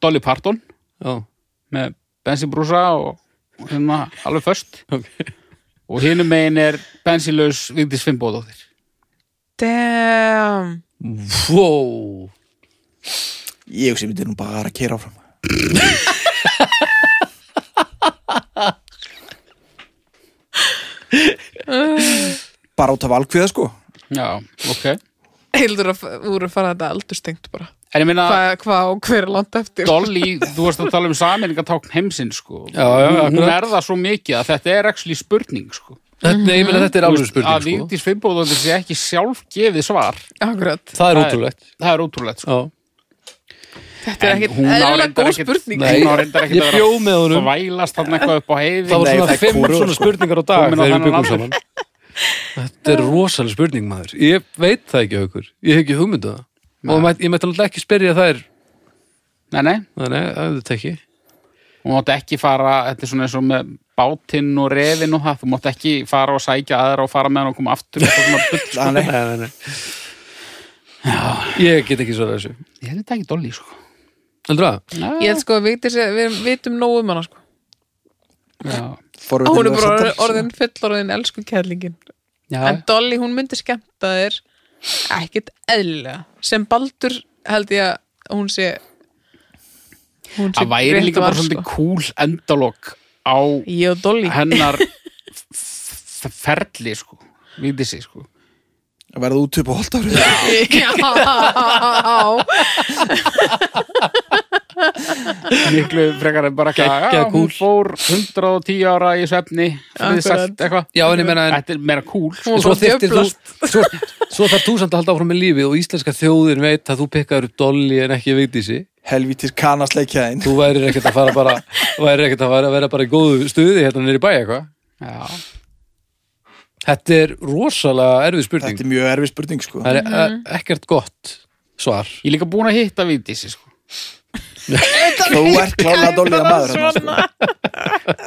Dolly Parton
já,
með bensínbrúsa og og hérna alveg föst
ok
og hinum megin er bensínlaus Vigdís Finnbóðóttir
damn
Wow.
ég sem myndi nú bara að kera áfram bara út af valkviða sko
Já, ok En
heldur að f- voru að fara þetta aldurstengt bara
ég meina
hvað hva og hver er langt eftir
Dolly, þú varst að tala um sameiningatákn heimsinn sko
Já, já,
Hún- Hún
akkurat.
er það svo mikið að þetta er actually spurning sko
Þetta, nei, ég meina, þetta er
Þú
alveg
veist, að
spurning sko.
Vigdís Finnbóðóttir sé ekki sjálf gefið svar
akkurat
Það er
Það er-
ótrúlegt
það er ótrúlegt sko.
Já.
Þetta er
En
ekkert
hún á
eðla
reyndar
góð
ekkert-
spurning
Nei,
hún á reyndar ekkert
ég
að
bjó
vera
með honum.
þvælast þarna eitthvað upp á heiði
Það var
Nei,
svona
það er
fimm
kúrur,
svona
sko.
spurningar á dag
Komin
þegar
á
við
þennan
byggum
aldur.
saman Þetta er rosalega spurning maður Ég veit það ekki haukur, ég hef ekki hugmyndu það og mæt, ég mætti alltaf ekki spyrja þær
Nei, nei,
Nei, nei, auðvitað ekki
þú mátt ekki fara, þetta er svona eins og með bátinn og refin og það, þú mátt ekki fara og sækja aðra og fara með hann og koma aftur og svona bull, sko.
Þannig,
nei, nei, nei. Ég get ekki svarað þessu
Ég hefði þetta ekki dolli, sko.
Heldur það?
Ég held sko að Vigdís er- við vitum nóg um hana sko.
Já,
fórum við
Hún er
til
bara
samtals.
orðin fullorðin elsku kærlingin
já,
En Dolly, hún myndi skemmta þér ekkit eðlilega sem Baldur held ég að hún sé hún
það væri
rétt
líka
var,
bara
sko.
svolítið kúl endalok á
Ég og Dolly
hennar f- f- ferli, sko, vitið sig, sko.
Að verða út upp á holdafrið
Já
miklu frekar en bara
Geggjað
eitthvað, já, hún
kúl.
fór 110 ára í svefni
Akkurat.
friðsælt eitthvað
Já, en ég meina en,
Þetta er meira sko. kúl
Hún
svo
var bara
þyrftir þú
djöflast.
svo, svo þarf þú samt að halda áfram með lífið og íslenska þjóðin veit að þú pekkaður upp dolli en ekki veitísi
Helvítis kanasleikjaðin
þú værir ekkert að fara bara værir ekkert að fara að vera bara í góðu stuði hérna nýri bæ eitthvað
Já,
Þetta er rosalega erfið spurning
Þetta er mjög erfið spurning sko
Það er
Mhm.
e- ekkert gott svar
ég er líka búin að hitta Vídísi sko.
Þú ert klálega dólíða maður hann, sko.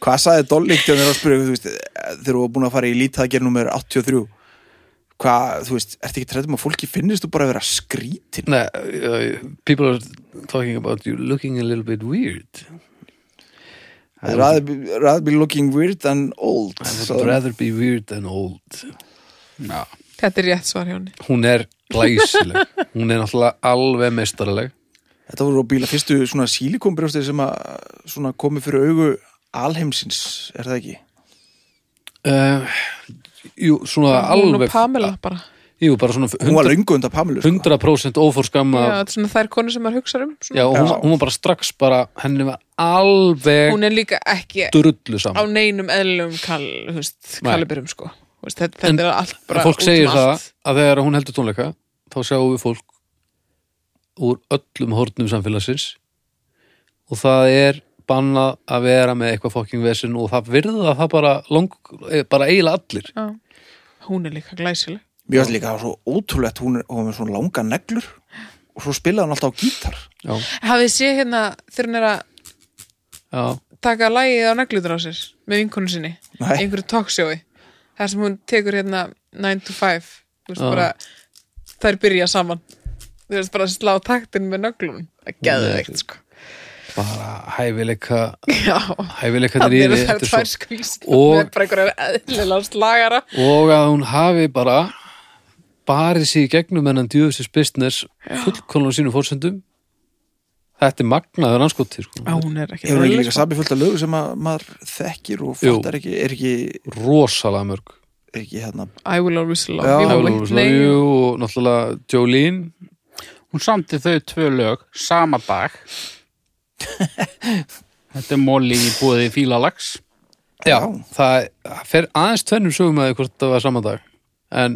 Hvað sagði Dolly til mér að spyrja þú veist, þegar þú var búin að fara í lítaðgerð nummer 83 Hvað, þú veist, ertu ekki trættum að fólki finnist þú bara að vera skrítin
Nei, uh, people are talking about you looking a little bit weird
rather, be- rather be looking weird and old
I
so,
would rather be weird than old
Já.
Þetta er rétt svar hjá henni
Hún er glæsileg Hún er náttúrulega alveg mestaraleg
Þetta voru á bíla fyrstu svona sílikonbrjóstir sem að svona komi fyrir augu alheimsins, er það ekki?
uh, Jú, svona
Hún og
alveg
Pamela bara
Jú, bara svona
Hún var
100%,
löngu undan Pamelu sko.
100 ófórskamma
Já, þetta er svona þær konur sem maður hugsa um svona.
Já, og hún,
Já.
hún var bara strax bara henni var alveg
Hún er líka ekki
drullu
á
saman
neinum eðlum kal, þú veist,
Nei.
kaliberum sko Þú veist,
En
þetta, þetta er allt bara
Fólk
út um
segir
allt.
það að þegar hún heldur tónleika þá sjáum við fólk úr öllum hornum samfélagsins og það er bannað að vera með eitthvað fokking vesinn og það virða það bara, lang, eh, bara eiginlega allir
Já. Hún er líka glæsileg
Mér varst líka það var svo ótrúlegt hún, er- hún var með svona langa neglur og svo spilaði hann alltaf á gítar
Já,
Hafið sé hérna þegar hún er að
já,
taka lægið á neglutur á sér með vinkonu sinni í
Nei.
einhverju talksjói þar sem hún tekur hérna 9 to 5 þú veist,
Já.
bara, þær byrja saman þú veist bara að slá taktin með nöglum það geður veikt sko
bara hæfileika
já,
hæfileika
það eru
þetta er
þær
svo
tvær skvísl
Og-
með bara einhverja eðlilega slagara
og að hún hafi bara barið sig í gegnum hennan djöfisins business fullkonlega sínum fórsendum þetta er magnaður anskoti
á,
sko.
hún er ekki
Hefur hún ekki
eðlileg, sko.
líka sami fullt af lögu sem að maður þekkir og fattar ekki er ekki,
rosalega mörg
er ekki hérna
I will always love
Já.
you
I
Það
og
var
Whitney.
Jú, og náttúrulega Jolene
Hún samti þau tvö lög sama dag Þetta er Móli í búið í fílalags
Já, það fer aðeins tvennum sögum að því hvort það var saman dag en,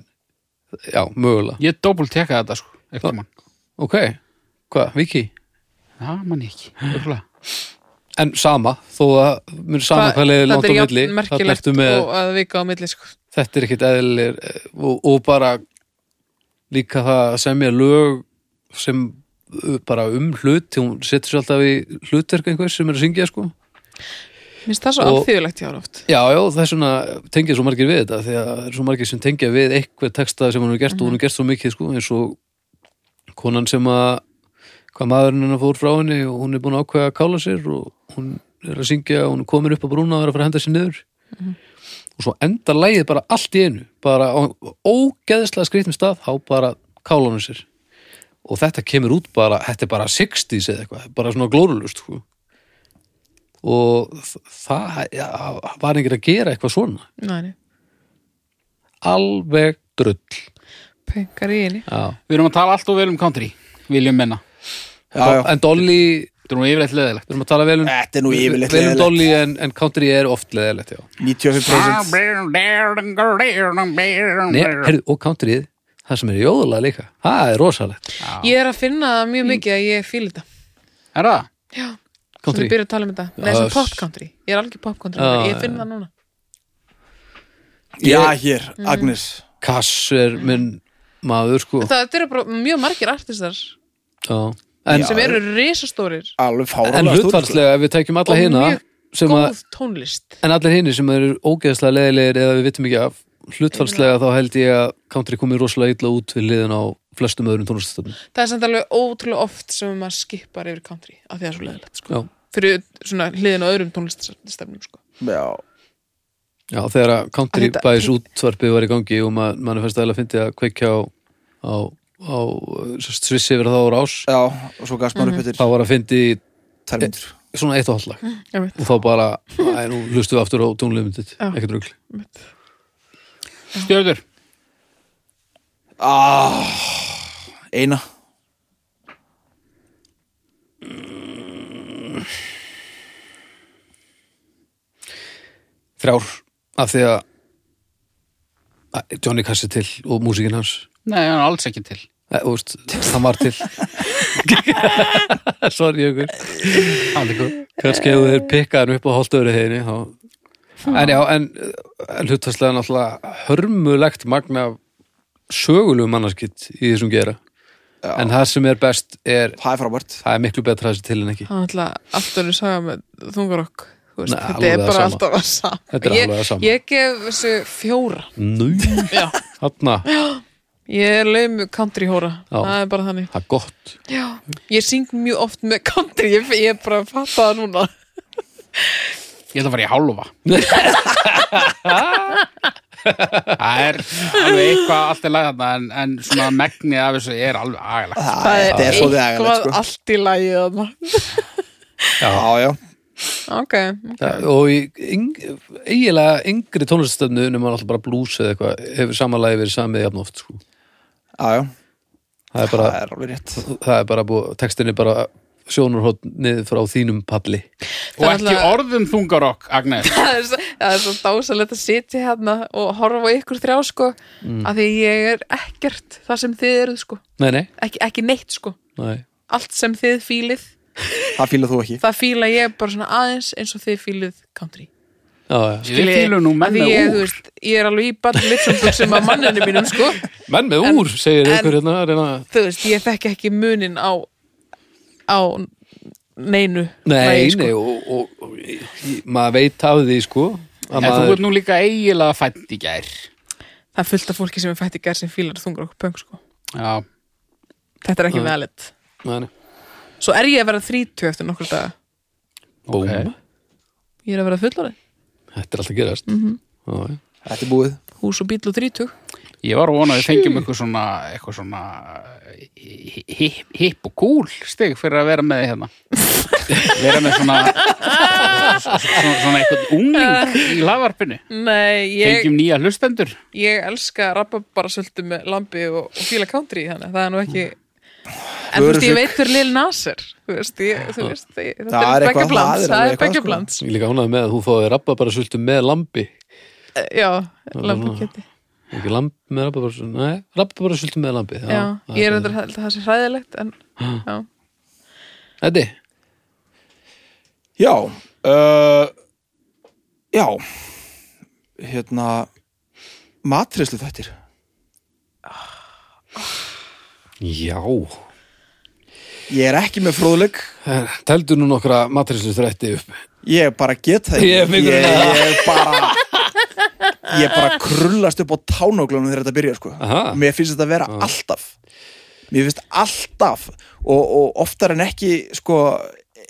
já, mögulega
Ég doppult teka þetta sko eftir mann
Ok, hvað, Viki?
Já, mann ekki örugglega.
En sama, þó að mér sama hvað leiðir
þetta
langt á
er
milli
jafn
þarna
merkilegt
ertu með,
og að vika á milli sko.
þetta er ekkit eðlir og, og bara líka það að semja lög sem uh, bara um hlut hún setur sér alltaf í hlutverk einhvers sem er að syngja sko
minnst það svo
Og-
alþjóðlegt hjá hann oft
Já, já, það er svona, tengja svo margir við þetta því að það er svo margir sem tengja við eitthvað texta sem hann hefur gert og hann hefur gert svo mikið sko, eins og konan sem að hvað maðurinn hennar fór frá henni og hún er búin að ákveða að kála sér og hún er að syngja og hún er komin upp á brúna og er að fara að henda sér niður og svo enda lægið bara allt í einu bara á ógeðslega skrýtnum stað þá bara kála hann sér og þetta kemur út bara, þetta er bara 60s eða eitthvað, bara svona glórulust sko og þ- það ja, var einhver að gera eitthvað svona
næni,
alveg drull
penkar í henni
já.
Við erum að tala allt og vel um country Viljum menna
Já, já.
en Dolly,
Þetta er nú yfirleitt leðilegt
við erum að tala vel um
Þetta er nú yfirleitt
vel um
leiðilegt.
Dolly en, en country er oft leðilegt já. Ah,
95%
Nei, heyrðu, og countryið það sem er jóðulega líka, það er rosalegt
ég er að finna það mjög mikið að ég fíl þetta
Er það?
já, sem
Country.
við byrjum að tala um þetta nei,
Já,
sem
s-
pop country, ég er alveg pop country
Já,
ég finn það núna
Mm.
Já, hér, Agnes
Kass er minn maður sko
það, þetta eru bara mjög margir artistar
Já. en,
sem eru risastórir
en
alveg fáralega
hlutfarslega ef við tekjum alla
Og
hina
mjög
sem að,
góð tónlist
en allir hini sem eru ógeðslega leðilegir eða við vitum ekki af hlutfarslega þá held ég að country komið rosalega illa út við liðin á flestum öðrum tónlistastöfnum
það er samt alveg ótrúlega oft sem maður skipar yfir country af því að það er svo leðilegt sko.
Já.
fyrir svona hliðin á öðrum tónlistastefnum sko.
Já,
Já, þegar að country
Að þetta-
bæðis útvarpið var í gangi og maður mann fannst aðeins að fyndi að kveikja á, á, á svissi yfir þá ára ás
já, og svo gafst maður upp
Mhm. þá
eftir
var að fyndi
tvær mínútur
svona eitt og hálflag
Einmitt.
og þá bara, æ, nú lustu við aftur á tónlefmyndið,
Já.
ekkert rugl
Stjörður,
Eh.
ah, Eina
þrjár, af því að að Johnny Cass er til og músikinn hans
nei, hann er alls ekki til
e, og, veist, hann var til sorry ykkur
Hann er líka-
kannski ef þeir pikka hann upp á holdöfri heiðinni þá en já, en, en hlutastlega náttúrulega hörmulegt magna sögulegu mannarskitt í þessum gera
Já.
en það sem er best er
Það er frábært
það er miklu betra þessi til en ekki
það er alltaf allt önnur saga með þungarokk Þú veist,
Nei,
þetta
alveg
er
það
bara
sama.
alltaf að sama
Þetta er
ég,
alveg það sama.
ég gef þessu fjóra
nú,
Já.
þarna,
ég er laum country hóra
Já.
það er bara þannig
það er gott
Já. ég syng mjög oft með country ég, ég er bara að fatta það núna
Ég ætla að fara í hálfa Það er alveg eitthvað allt er lagðarna en, en svona megni af þessu er alveg agalegt
Það er svo
eitthvað
sko.
þegar
allt í lagi þarna.
Já, já,
ok,
Það, og í yng, eiginlega yngri tónlistastöfnu nema alltaf bara blues eða eitthvað hefur samanlægi verið samið jafn oft sko.
já, já
það er bara,
Það er alveg rétt
það er bara búið, textin er bara sjónurhótt niður frá þínum palli
og
er
ekki
alltaf-
orðum þungarokk, Agnes
það er, svo- það er svo dásalegt að sitja hérna og horfa á ykkur þrjá sko
Mm.
af því ég er ekkert það sem þið eruð sko,
nei, nei,
ekki, ekki neitt sko
nei.
allt sem þið fílið
Það fílar þú ekki
það fíla ég bara svona aðeins eins og þið fílið country
Já, já.
Við fýlum nú
Af
menn
því
með
ég, þú
úr
veist, ég er alveg í bara litsambuxum af manninu mínum sko
menn með úr, segir
en-
ykkur hérna að reyna að-
þú veist, ég þekki ekki munin á á neinu
nei,
lagi, sko.
nei, og, og, og í- í- maður veit af því sko að
En þú
maður,
ert nú líka eiginlega fætt í gær
það er fullt af fólki sem er fætt í gerð sem fílar þungur okkur pöng sko
Já,
þetta er ekki veðalett
nei, nei.
svo er ég að vera 30 eftir nokkur daga
búm,
Ok.
ég er að vera fullorðin,
þetta er alltaf gerast mm
Mhm.
-hmm.
Þetta er búið
hús og bíl og 30
ég var að vona að við fengjum eitthvað svona eitthvað svona eh, hi- hi- hipp og cool stig fyrir að vera með þig hérna vera með svona svona, svona eitthvað ungling í lavarpinu
nei, ég,
fengjum nýja hlustendur
ég elska rababarasultu með lambi og, og fíla country þannig, að það er nú ekki en þú
Vörusugg.
veist, ég veit fyrir Lil Nasir þú veist, ég, þú veist ég, þetta
Það
er beggar
er eitthvað- það
blands
er
það
alveg
er beggar
eitthvað,
blands,
ég er líka ánægð með að hún fóði rabba bara sultu með lambi
Eh, já, lambi
svona-
keti
ekki lamb með rababarasultu nei, rababarasultu með lambi
já, ég er þetta held að það sé hræðilegt en, já,
Eddi,
Já uh, Já Hérna Matrislu þættir
já
Ég er ekki með fróðleik
Tældu nú nokkra matrislu þrætti upp
Ég bara get það
Ég er
ekki.
miklu
ég,
en það.
ég bara Ég bara krullast upp á tánoglunum þegar þetta byrja sko.
Aha.
Mér finnst þetta að vera alltaf Mér finnst alltaf og, og oftar en ekki sko,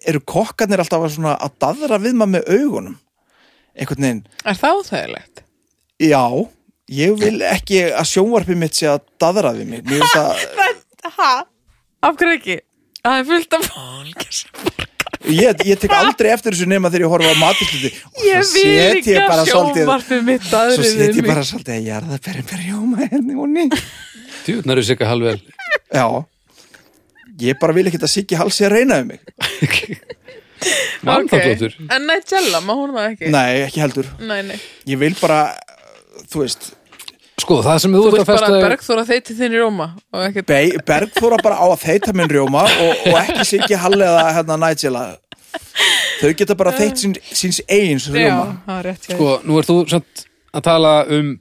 eru kokkarnir alltaf að svona að daðra við maður með augunum einhvern veginn
er það óþægilegt?
Já, ég vil ekki að sjónvarpið mitt sé að daðra við mig Mér finnst að
ha, af hverju ekki? það er fullt af fólki sem
ég, ég tek aldrei eftir þessu nema þegar ég horfa á matisluti
ég vil ekki að sjómarfið mitt
Svo
aðrið
set ég bara svolítið að ég er það berið með rjóma hérna henni og ný
Tjúðnar er sikka halvvel
Já Ég bara vil ekki að Siggi Hall sé að reyna um mig
Mannflóttur okay.
en Nigella, má hún það ekki?
Nei, ekki heldur
nei, nei.
Ég vil bara, þú veist
Sko, það sem þú
Þú
ert að
ert bara
festa
að
þig-
bergþóra þeiti þinn í Róma og ekkert
Be Bergþóra bara á að þeita minn rjóma og, og ekki Siggi Hall eða hérna Nigella Þau geta bara þeitt sín, síns eigins
Já,
rjóma
það er rétt hjá
Sko, nú ert þú samt að tala um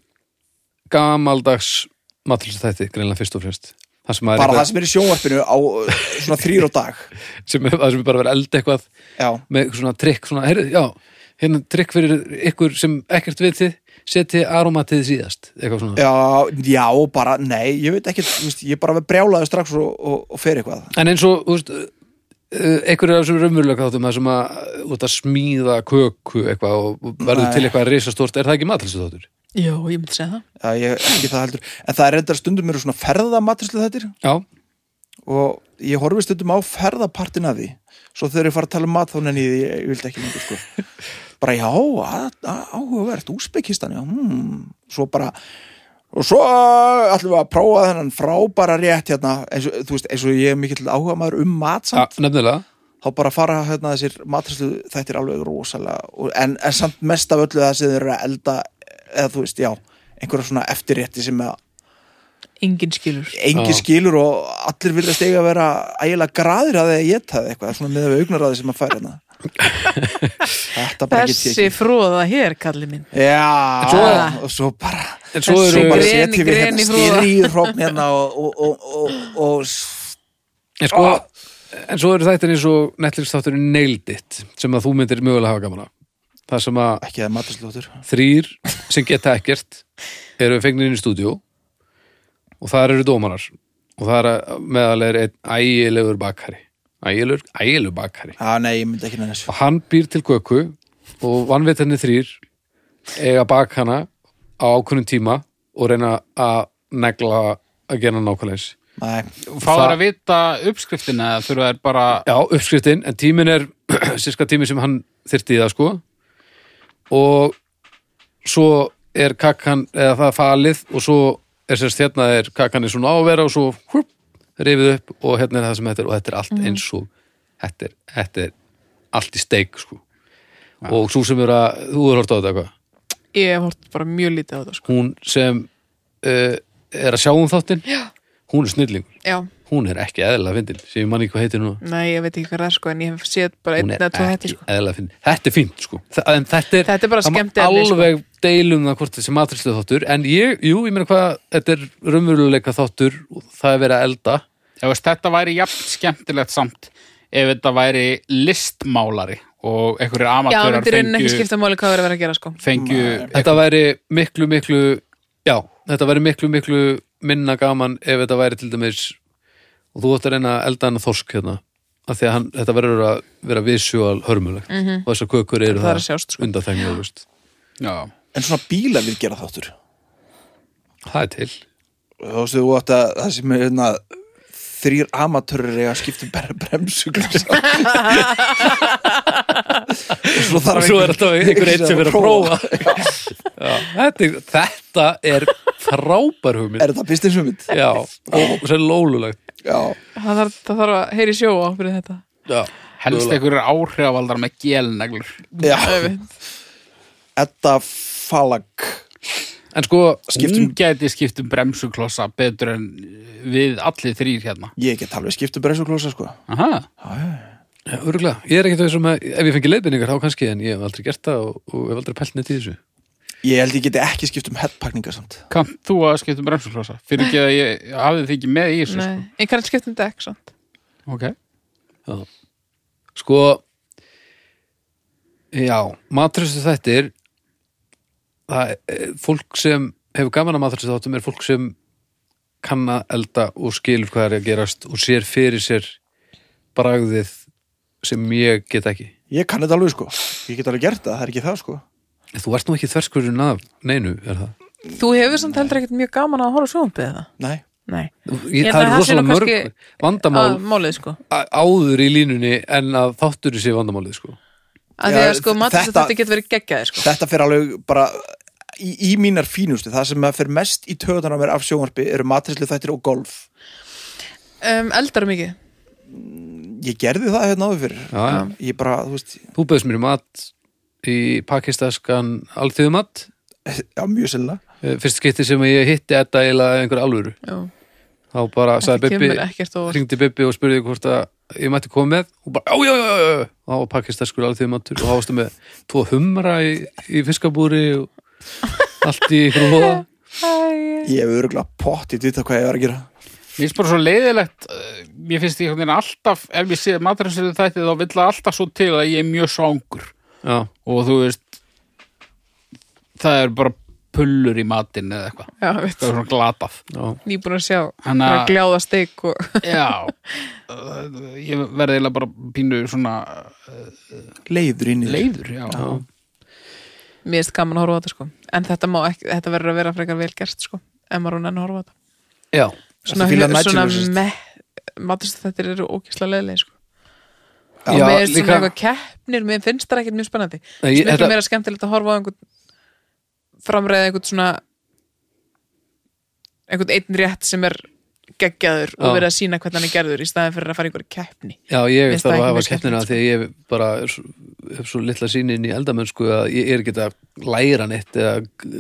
gamaldags matlisætti, greinlega fyrst og fremst það sem,
bara það
það
sem er í sjónvarpinu á uh, svona þrýr á dag
sem, er- það sem er bara verið að elda eitthvað
já,
með eitthvað svona trikk svona, heyrðu, já, hérna trikk fyrir ykkur sem ekkert vitið seti aromatið síðast, eitthvað svona
já, já, bara, nei ég veit ekki, þú veist, ég bara brjálaði strax og, og, og fer eitthvað
en eins og, þú veist einhverju af þessum raunveruleika þáttum það sem að, út að smíða köku eitthvað og og verður
Nei.
til eitthvað risastort er það ekki matlisætti þáttur?
Jó, ég myndi segja það
já, ég, ekki það heldur, en það er reyndar stundum eru svona ferðamatrislu þettir
Já,
og ég horfi stundum á ferðapartin að því svo þegar ég fara að tala um mat þá nenni ég, því- ég vildi ekki lengur sko bara já, að- að- áhugavert, Úsbekistan já, hmm, svo bara og svo uh, ætlum við að prófa þennan frábæra rétt hérna eins og, þú veist, eins og ég er mikill áhuga maður um mat
ja,
samt,
nefnilega
þá bara fara hérna þessir matrislu þættir alveg rosalega og, en, en samt mest af öllu það sem þeir eru að elda eða þú veist, já, einhverja svona eftirrétti sem að
Engin skilur
engi
Já.
skilur og allir vilja stega að vera ægilega graðir að þeir geta það eitthvað, svona með við augnaráði sem að færa hérna Þetta bara get ég
Þessi
ekki
fróða hér, kalli minn
Já,
Svo-
og svo bara
En svo
Þessi
eru,
svo bara
greni,
setjum við
greni
hérna
frúða.
styrri í hrókn hérna og, og, og, og, og s-
en sko, en svo eru þættir eins og Netflix þátturinn Nailed It sem að þú myndir mögulega hafa gaman að það sem að
ekki það maturslótur
þrýr sem geta ekkert eru fengnir inn í stúdíó og þar eru dómarar og þar að- meðal er einn ægilegur bakkari ægilegur, ægilegur bakkari
Já, nei, ég myndi ekki nenni þessu
og hann býr til göku og vannvitandi þrýr eiga bak hana á ákunnum tíma og reyna að negla að gera hann nákvæmleins
Nei,
Fá þær að vita uppskriftina eða þurfa þær bara
Já, uppskriftin, en tíminn er sérska tími sem hann þyrfti í það sko og svo er kakkan eða það er falið og svo er sérst hérna er kakkan er svona ávera og svo húp, rifið upp og hérna er það sem þetta er og þetta er allt eins og þetta er, þetta er allt í steik sko og svo sem er að, þú er hort á þetta eitthvað
Ég hef hort bara mjög lítið á þetta sko.
hún sem uh, er að sjá um þáttinn hún er snillingur,
Já,
hún er ekki eðlilega fyndin sem ég man ekki hvað heitir núna
nei, ég veit ekki hvað það er sko En ég hef séð bara
hún
einn
er
eða tvo hætti
ekki
sko.
eðla fín þetta er fínt sko Þa, en þetta er,
Þetta er bara
það má
skemmt efni, sko.
alveg deilum það hvort þessi matrislu þáttur en ég, jú, ég meina hvað þetta er raunveruleika þáttur og það er verið að elda
ef veist, þetta væri jafn skemmtilegt samt ef þetta væri listmálari og einhverjir
Já, það
amatörar
myndi raunin ekki
fengju,
skipta máli hvað það er að vera að gera sko.
fengju
þetta væri miklu, miklu já, þetta væri miklu, miklu minna gaman ef þetta væri til dæmis og þú ætti að reyna að elda hann þorsk hérna af því að hann, þetta verður að vera visual hörmulegt og þessar kökur eru
Mhm. Það er að sjást, sko.
undanþegnu, þú veist.
já,
en svona bíla við gera þáttur
það er til
Þú veist, þú átt að það sem er hérna þrýr amatörur eiga að skipta um bara bremsuglur og svo þarf
og svo er
einhver-
alltaf einhver eitt sem er að prófa
prófa.
Já, þetta, er- þetta er frábær hugmynd
er þetta pistinsumund?
Já, og sér lólulegt
Já,
Það þarf, það þarf að heyri sjó á fyrir þetta
Já,
helst einhverjir áhrifavaldar með gélneglur
já
Auðvitað.
Edda Falag
En sko,
Skiptum-
hún gæti skiptum bremsuklossa betur en eh, við allir þrýr hérna
Ég get alveg skipt um bremsuglósa sko
Aha.
já, örgulega, ég er ekkert þessum að ef ég fengi leiðbendingar þá kannski en ég hef aldrei gert það og, og hef aldrei pælt neitt í þessu
Ég held ég geti ekki skipt um headpakninga samt
kannt þú að skiptum bremsuklossa fyrir ekki að ég hafði þig ekki með í þessu
Nei,
sko.
En kannski skipta um dekk sant?
ok,
Já. Sko Já, matrustu þættir það er fólk sem hefur gaman að matrustu þáttum er fólk sem kann að elda og skilur hvað er að gerast og sér fyrir sér bragðið sem ég get ekki
Ég kann þetta alveg sko Ég get alveg gert það, það er ekki það sko
Þú ert nú ekki þverskurinn af neinu, er það?
Þú hefur samt heldur ekkert mjög gaman að horfa sjónbið það
Nei,
Nei,
Ég,
Ég
það eru
held að það sé nú
rosalega mörg
kannski-
vandamál
að málið sko
á- áður í línunni en að þáttur sé vandamálið sko.
að
Já,
því að sko
þ-
matast
þetta-
þetta, þetta getur verið geggjaði sko
þetta fer alveg bara í, í mínar fínustu Það sem að fer mest í töðan á mér af sjónvarpi eru matrislu þættir og golf
um, eldar mikið
Ég gerði það hérna áður fyrir
Já, já.
Ég bara, þú veist,
Þú bauðst mér í mat í pakistaskan alþjóðumat
já, mjög sennilega
Eh, fyrst skipti sem ég hitti þetta eiginlega einhver alvöru
Já,
þá bara
þetta
sagði
kemur
Bibbi,
ekkert og
ringdi Bibbi og spurði hvort að ég mætti koma með og bara, já, já, já, já, já." og þá var pakistaskur alveg matur og þá varstu með tvo humra í, í fiskabúri og allt í einhverju hóða
Æ,
Ég hef öruglega pottið þetta hvað ég var að gera
Mér finnst bara svo leiðilegt eh, Mér finnst ég hvernig alltaf Ef ég sé matrinsinu þætti þá vill það alltaf svo til að ég er mjög svangur
já,
og þú veist það er bara pullur í matinn eða eitthvað
já, veit
það er svona glatað
já,
Nýbúin að sjá,
Hanna-
bara gljáða steik og
já Uh, ég verði eiginlega bara pínu svona
Leiður inn í þér.
leiður já.
mér erst gaman að horfa á þetta sko en þetta, má ekki, þetta verður að vera frekar vel gert sko ef maður hún enn að horfa á þetta
já,
svona, hu-
fílar Nigel,
svona
sem sagt?
með maturst þetta eru ókísla leðileg sko. og
já
mér er svona
líka,
eitthvað keppnir mér finnst það ekkert mjög spennandi
Nei,
Svo
ég-
miklu
þetta-
meira skemmtilegt að horfa á einhvern framræða einhvern svona einhvern einn rétt sem er geggjaður
Já.
og
Mm.
verið að sína hvernig hann er gerður í staðin fyrir að fara í einhverju keppni
já, ég
Mér finnst
þarf að
það ekki
hafa
mjög
keppnina
skemmtilegt,
því að ég bara er svo, hef svo litla sínin í eldamennsku að ég er ekki að læra neitt eða,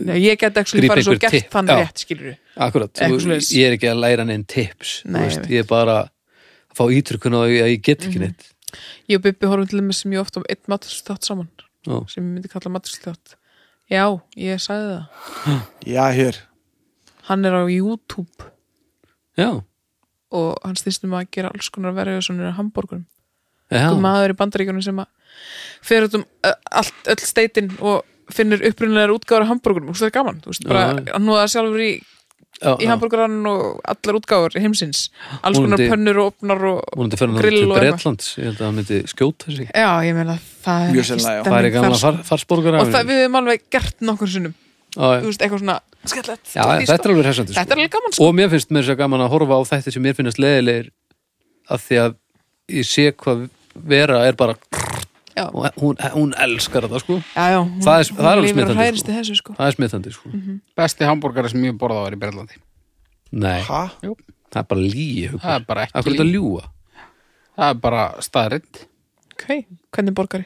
Nei, ég get ekki
Grípa
bara svo
einhver
gert
tipp,
þann
já.
rétt skilur
akkurat,
Eitthvað
þú,
svoleiðis.
ég er ekki að læra neinn tips, þú
Nei, Mhm. ég
veist,
veit.
ég er bara að fá ítrykun á því að ég get ekki neitt
ég og Bubbi horfum til þess mjög oft á einn maturst saman
Já.
sem ég myndi kalla maturst já, ég sagði það
Já, hér
hann er á YouTube
já,
og hann snýst um að gera alls konar verið svona hambúrgurum,
já,
ah. maður í bandaríkjunum sem að fer út um ö, allt, öll steitin og finnur upprunalega útgáður af hambúrgurum, og það er gaman þú veist, bara
Já.
hann núða sjálfur í,
já,
í
já.
hambúrgurann og allar útgáður heimsins, alls konar
Vonandi-
pönnur og opnar og,
Múnandi fyrir hann
grill
til
og eitthvað.
Bretlands ég held að hann myndi skjóta sig
já, ég meina það er
Mjög
Það er
sennilega, já.
stemning
ekki gamla
þar,
far, farsborgar
sko. og það, við hefum alveg gert nokkur sinnum þú
já,
veist, eitthvað svona skellett
já, þetta er alveg hressandi
sko- þetta er alveg gaman sko.
Og mér finnst mér þess að gaman að horfa á þetta sem mér finnast leðilegir að því að ég sé hvað vera er bara
Já.
og hún, hún elskar þetta sko
já, já, hún,
Það er- það er alveg
hún lifir
smitandi,
og
sko.
hærist í þessu sko
það er smitandi sko
besti hambúrgari sem ég borðað var í Berlandi
Nei,
Ha?
Jú.
það er bara líi
það er bara ekki
Akkur þetta ljúga
það er bara staðrind
ok, hvernig borgari?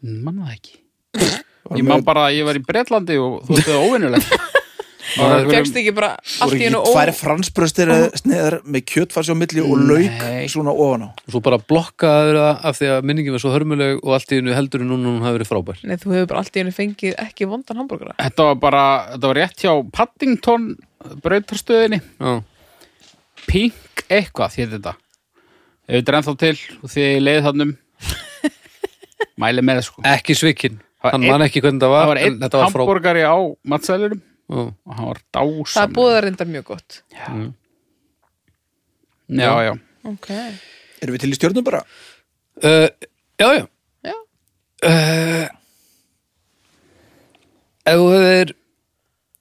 mann það ekki ég man bara að ég var í Bretlandi og þú veist það óvinnulegt
Fegst ekki bara allt
Voru
í hennu ó...
ekki tvær fransbröstir sneðar með kjötfarsi á milli og lauk
Nei.
svona ofan á
og svo bara blokkaður það af því að minningin var svo hörmuleg og allt í hennu heldur en núna hún hafi verið frábær
Nei, þú hefur bara allt í hennu fengið ekki vondan hambúrgara.
þetta var bara, þetta var rétt hjá Paddington brautarstöðinni
Já,
Pink eitthvað því þetta ef þetta er ennþá til og því leið þannum mæli með sko
ekki svikin
Það var
Hann
einn-
man ekki hvernig þetta
það
var,
var
en
einn
þetta var frábær
hambúrgari á matsælunum
Já.
og hann var
Það er
dásam
búið að reyndar mjög gott.
já, já.
Ok.
Erum við til í stjórnum bara?
Uh, já, já
Já.
Ef þú hefur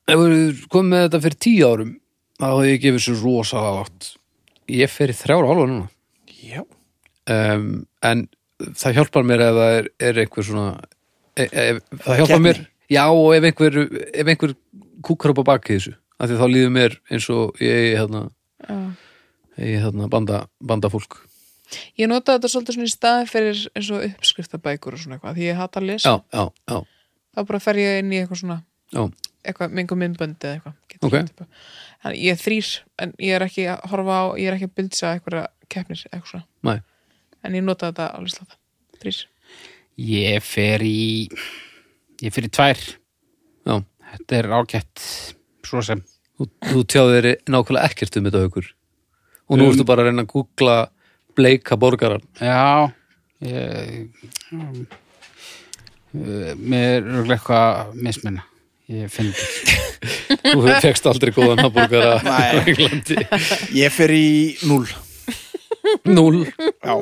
ef þú hefur komið með þetta fyrir tíu árum þá hefði ég gefið sér rosalega látt Ég fer í þrjára hálfa núna
Já
um, en það hjálpar mér ef það er, er einhver svona ef, ef, það hjálpar
Keppni.
mér já og ef einhver, ef einhver kúkar upp á baki þessu af því þá líður mér eins og ég eigi hérna,
Já.
eigi hérna banda, banda fólk
Ég notaði þetta svolítið svona í staði fyrir eins og uppskriftabækur og svona eitthvað, því ég hata að lesa.
Já, já, já,
Þá bara fer ég inn í eitthvað svona,
já,
eitthvað, mingu myndböndi eða eitthvað. Getur
Ok.
lagt upp á- En ég er þrýr, en ég er ekki að horfa á, ég er ekki að bylsa eitthvað keppnir, eitthvað svona.
næ
En ég notaði þetta alveg sláta. Þrýr.
ég fer í ég fer í tvær
Já,
þetta er ágætt svo sem
þú, þú tjáði þér nákvæmlega ekkert um þetta haukur og nú
Um,
ertu bara að reyna að googla bleika borgaran
já ég um, eh, mér er örugglega eitthvað misminna ég finn þetta
þú fegst aldrei góðan hamburgara á
Nei.
Englandi
Ég fer í 0
Núl,
Já,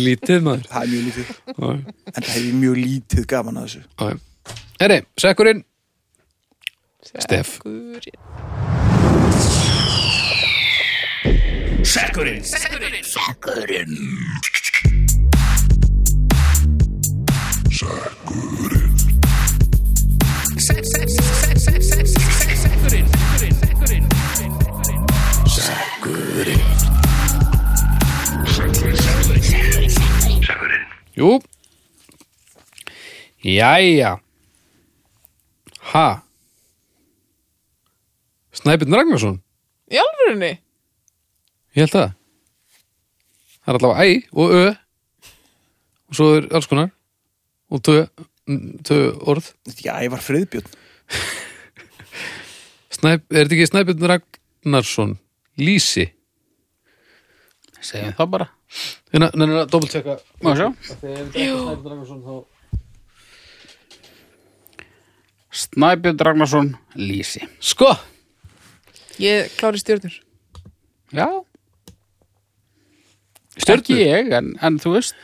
lítið maður
það er mjög lítið
Já,
En það hefur mjög lítið gaman að þessu
já. Herri, sekkurinn Stef.
Sækurinn.
Jú Jæja Ha Snæbjörn Ragnarsson
Í alvörunni?
Ég held það Það er allavega æ og ö og svo er alls konar og tö, tö orð
Já, ég var friðbjörn
Snæp, er þetta ekki Snæbjörn Ragnarsson Lýsi
segjum það bara
hérna, nennir að dobbultjekka
Má sjá. Snæbjörn Ragnarsson Lýsi
sko,
Ég klári stjörnur
Já Stjörgi ég, en, en þú veist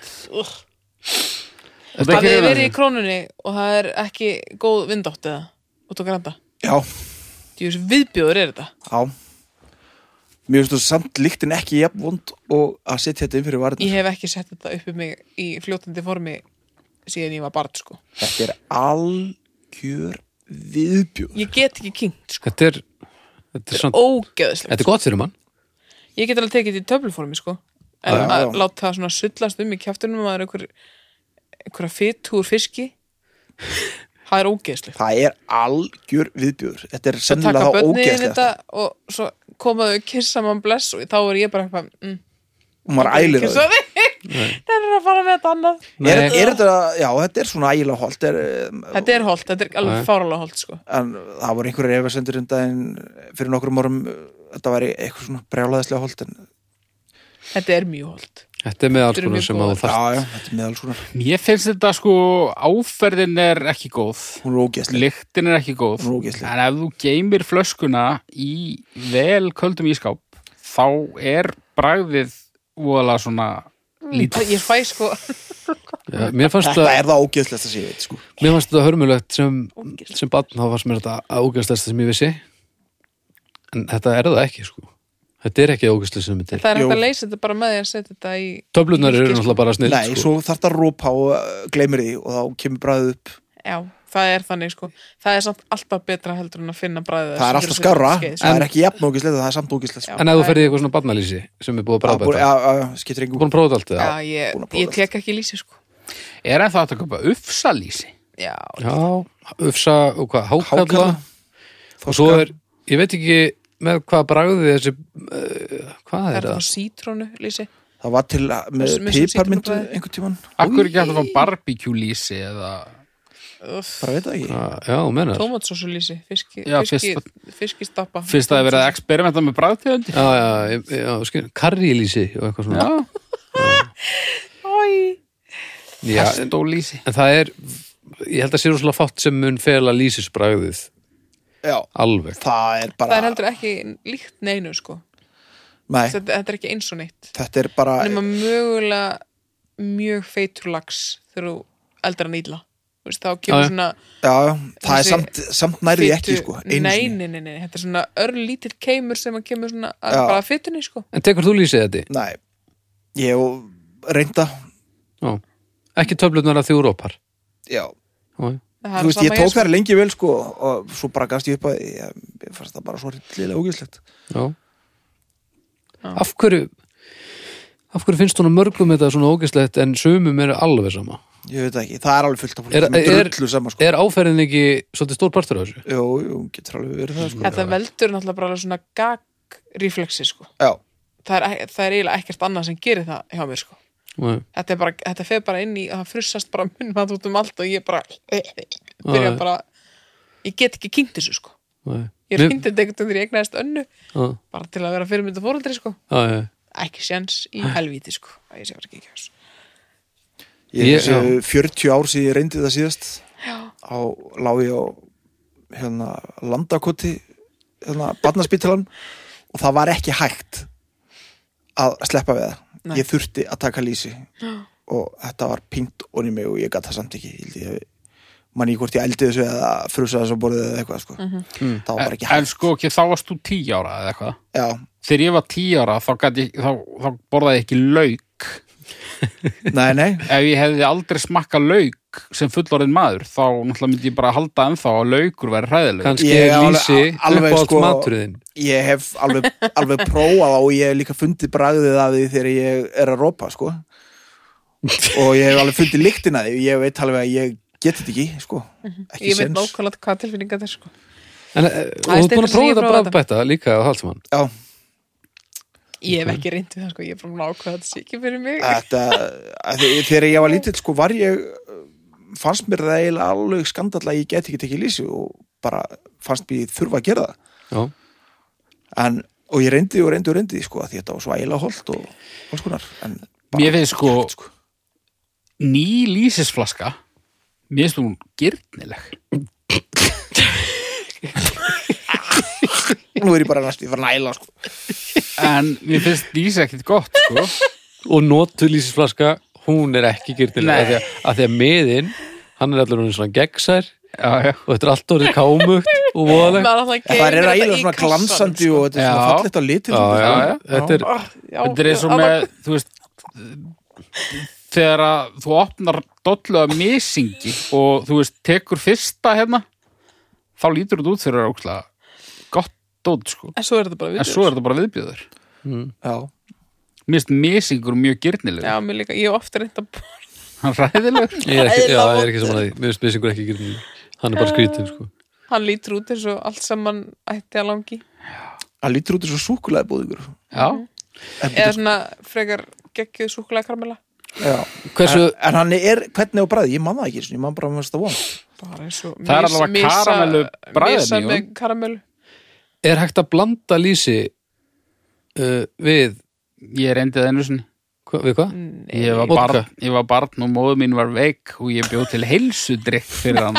Þetta er
Það
ekki
er verið í
reyðan.
krónunni og það er ekki góð vindátt eða út á granda
já,
Djús viðbjóður er þetta
já mér finnst þú samt líktin ekki jafn vond og að setja þetta inn fyrir varðin
Ég hef ekki sett þetta upp um mig í fljótandi formi síðan ég var barn sko
þetta er algjör viðbjóð
Ég get ekki kynnt sko
þetta er þetta er, samt,
Ógeðslega
þetta er gott fyrir mann
Ég get alveg tekið þetta í töfluformi sko En
Já, já.
að láta það svona sullast um í kjaftunum að það er einhver einhverja fytúr fiski Það er ógeðslega
það er algjör viðbjóður þetta er
Svo taka
sennilega það
börnin í þetta
ógeðslega
og svo komaðu kissa mann bless og þá er ég bara eitthvað mm,
og maður ælir það
kissa þig Það er að fara með þetta annað
er,
Nei.
er þetta, já, þetta er svona ægilega holt er, um,
Þetta er holt, þetta er alveg
Nei.
fáralega holt sko.
en það voru einhverjir efasendur um daginn fyrir nokkrum árum þetta væri eitthvað svona brjálaðislega holt en
Þetta er mjög holt
þetta er með alls
Þetta eru
konar
mjög
sem að
góðar.
þú þarft
já, þetta er meðal svona
Mér finnst þetta sko áferðin er ekki góð
hún er ógeðslega
Lyktin er ekki góð
Ógeðsleg.
En ef þú geymir flöskuna í vel köldum ískáp þá er bragðið voðalega svona
Lítið. Ég fæ sko
Já, mér fannst
þetta
það
er það ógeðslega sem ég veit sko.
mér fannst þetta hörmulegt sem,
Ógeðslegt.
sem barn þá fannst mér þetta ágæðslega sem ég vissi en þetta er það ekki sko þetta er ekki ágæðslega sem þetta er
Það er hægt
Jú.
að leysa þetta bara með því að setja þetta í
töflunar eru
Fylgir, sko.
náttúrulega bara snill
nei,
sko.
svo þarf það að rópa og uh, gleymir því og þá kemur bræðið upp
Já, það er þannig sko Það er samt alltaf betra heldur en að finna bræðið
það er alltaf skarra,
sko.
það er ekki jafn ógeðslega það er samt ógeðslega
Já.
en ef þú ferði í eitthvað svona barnalýsi sem er búið að bráða
Það búið-
bæta
já, já, já, skiptir engum
búin að prófa þetta allt
Já,
eða?
ég,
Búin að prófa
ég tek ekki lýsi sko
Er en það hægt að köpa ufsalýsi?
Já,
já, ufsa og hvað, hákalla,
Hákarla,
og svo
þorska.
er, ég veit ekki með hvað bragði þessi uh, hvað
það
er
er það
það?
sítrónu lýsi
það var til að- með
Með- með
piparmyndu
sítrónubræði.
einhvern tíman
Akkur ekki hægt að fá barbecue lýsi eða
bara veit það ekki,
Ah, já, menar já,
Tómatsósu lýsi, fiski,
Já,
fiski,
fyrst-
fiskistappa
fyrst að það er verið að experimenta með bragðtegundi?
já, ég- já, skil, karrílýsi og eitthvað svona
Já,
Æ,
já, en,
pesto lýsi
en það er ég held að sé rosalega fátt sem mun fela lýsisbragðið
já,
alveg
það
Það
er
er
bara
heldur ekki líkt neinu sko
nei,
Þetta, þetta er ekki eins og neitt
þetta er bara
nema mögulega mjög feitur lax þegar þú eldar hann ítla veist, þá
Já,
kemur
já.
svona
já, já, það er
Þessi
samt, samt nærið ekki
fitu-
sko, einu
nei,
sinni.
nei, nei, nei, þetta er svona örlítill keimur sem að kemur svona að,
Já.
bara að fytunni sko.
en tekur þú lýsið þetta?
nei, ég reynda
Já. ekki töflunar að þjóru opar
já,
já,
það
þú
er
veist, ég
sama
tók
sko.
þær lengi vel sko og svo bara gafst ég upp að ég, ég fannst það bara svo rillilega ógæslegt
já.
Já.
af hverju af hverju finnst hún að mörgum þetta svona ógæslegt en sumum eru alveg sama
ég veit það ekki, það er alveg fullt af fólki
Er-
sem er
er-
drullu saman sko
er áferðin ekki svolítið stór partur af þessu
jú, jú, getur alveg verið það sko
þetta veldur náttúrulega bara alveg svona gag-reflexi sko.
já,
það, er ek- það er eiginlega ekkert annað sem gerir það hjá mér sko.
Nei.
þetta, er bara, þetta fer bara inn í að það frussast bara munn mat út um allt og ég bara byrja
já.
bara ég get ekki kynnt þessu sko.
Nei.
ég
Mér-
kynnt þetta einhvern veginn þegar ég egnaðist önnu
Já,
bara til að vera fyrirmynda fóröldri sko.
já, já.
ekki sjans í helvíti sko. að ég sé bara ekki ekki þessu
ég
Ég-
er þessi 40 ár síðan ég reyndi það síðast
Já.
á, lá ég á hérna, landakoti hérna, barnaspítalan og það var ekki hægt að sleppa við það
Nei.
ég þurfti að taka lýsi og þetta var pínt onni mig og ég gat það samt ekki ég held ég mann í hvort ég eldi þessu eða frusa þessu á borðið eða eitthvað sko.
Mhm.
það var bara
en,
ekki
en
hægt
sko, ok, þá varst þú tí ára eða eitthvað
já,
Þegar ég var tí ára þá, gat ég, þá, þá borðaði ég ekki lauk
nei, nei,
Ef ég hefði aldrei smakka lauk sem fullorðin maður þá náttúrulega myndi ég bara halda ennþá að laukur væri hræðileg
kannski
Ég
er
alveg-
lýsi
alveg
uppáhalds
sko-
maturðin
ég hef alveg, alveg prófað það og ég hef líka fundið bragðið af því þegar ég er að rópa sko. og ég hef alveg fundið lyktina af því ég veit alveg að ég get þetta ekki sko. ekki
Mhm. ég veit
sens
nákvæmlega hvað tilfinninga þér sko.
en, eh, og
Það er
þú ert búin
styttra
að
sem
prófa
ég
þetta
prófaði
brafbætta líka á halsmann
já,
ég hef ekki reyndið það sko. ég er bara nákvæmlega þetta sé ekki fyrir mig
þetta, að því- þegar ég var lítill sko, var ég fannst mér það eiginlega alveg skandall að ég get ekki tekið lýsi og bara fannst mér ég þurfa að gera það
já,
en, og ég reyndi og reyndi og reyndi sko, að því þetta var svo ægilega holt og alls konar en bara-
Mér finnst sko, ný lýsisflaska mér finnst hún girnileg
nú er ég bara næst, ég var næla sko.
en mér finnst lýsi ekkit gott sko.
og notulísisflaska hún er ekki
Nei.
gyrnilega af því að, af því að miðin, hann er allir hún svona gegnsær
já, já.
og þetta er allt orðið kámugt og voðalegt
Maður alltaf geymir
það er
þetta
ægilega
í
svona
kassanum,
glansandi
sko.
og þetta er svona
Já.
fallegt á litin
Já, já,
Já,
já,
já.
þetta er
Ah, já,
þetta er eins og
annað-
með þú veist þegar að þú opnar dollu af misingi og þú veist tekur fyrsta hérna þá lítur þetta út fyrir að óksla gott dót sko
En svo er þetta bara
en
viðbjóður.
svo er þetta bara viðbjöður
já.
mér finnst misingur mjög girnileg
Já, mér líka, ég hef ofta reynda
hann ræðilegur
ég er ekki, já, ég er ekki saman að því mér finnst Bissingur ekki gyrnilega hann er bara skrítin sko.
Hann lítur út eins og allt saman ætti að langi
það lítur út eins og súkulega búðingur
já,
Eða svona frekar geggjuð súkulega karmela
hversu,
en, en hann er, hvernig á bræði, ég man það ekki einu sinni, ég man bara að mér finnst það von
Bara eins og
Það er
mis-
allavega
misa-
karamellubragðin í
misa
honum.
með karamelu
er hægt að blanda lýsi uh, við
ég reyndi það einu sinni
hva, við hvað?
Ég var,
Vodka.
barn, ég var barn og móðu mín var veik og ég bjóð til heilsudrykk fyrir hann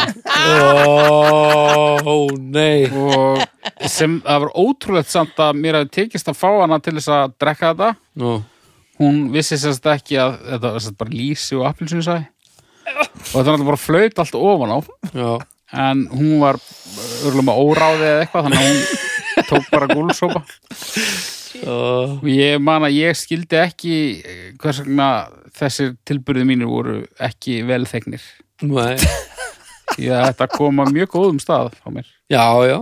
Ó, nei
og sem það var ótrúlegt samt að mér hafi tekist að fá hana til þess að drekka þetta
Nú,
hún vissi sérst ekki að þetta var sérst bara lýsi og appilsinsæ og þetta var náttúrulega bara flaut allt ofan á
já,
en hún var örgulega með óráði eða eitthvað þannig að hún tók bara gúlsópa
ó,
og ég man að ég skildi ekki eh, hvers vegna þessir tilburði mínir voru ekki vel þegnir
nei
því að þetta kom að mjög góðum stað á mér
Já, já,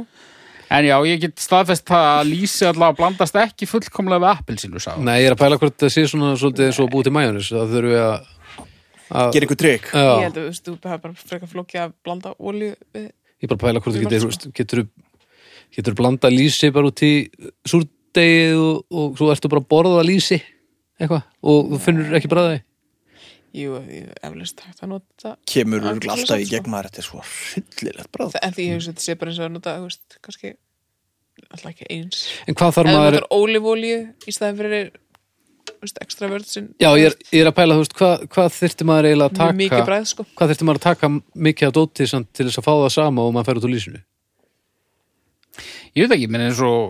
en já, ég get staðfest það að lýsi allavega blandast ekki fullkomlega við appilsinu sá
nei, ég er að pæla hvort það sé svona svolítið eins og búið til majónis það þurfum við að
gera ykkur trygg
Ég
já,
held að þú hefur bara frekar flókið að blanda olíu við
ég er bara að pæla hvort
Við
það getur
margt,
veist, getur, getur blanda lýsi bara út í súrdegið og, og svo ertu bara að borða lýsi eitthvað og þú finnur ekki bræði
Jú, ég hef eflaust hægt að nota
kemur
Já,
örugglega
það er
alltaf í
satt, sko.
gegn maður þetta er svo hryllilegt bræð
það En því ég hef þetta sé bara eins og að nota, þú veist, kannski alltaf ekki eins
En hvað þarf
Ef þú
maður
notar ólífólíu í staðin fyrir þú veist, ekstra vörð sem
Já, ég er, ég er að pæla, þú veist, hvað, hvað þyrfti maður eiginlega
mjög
að
mikið
taka
bræð sko
hvað þyrfti maður að taka mikið að dóti samt til þess að fá það sama og maður fer út úr lýsinu
ég veit ekki, menn eins og,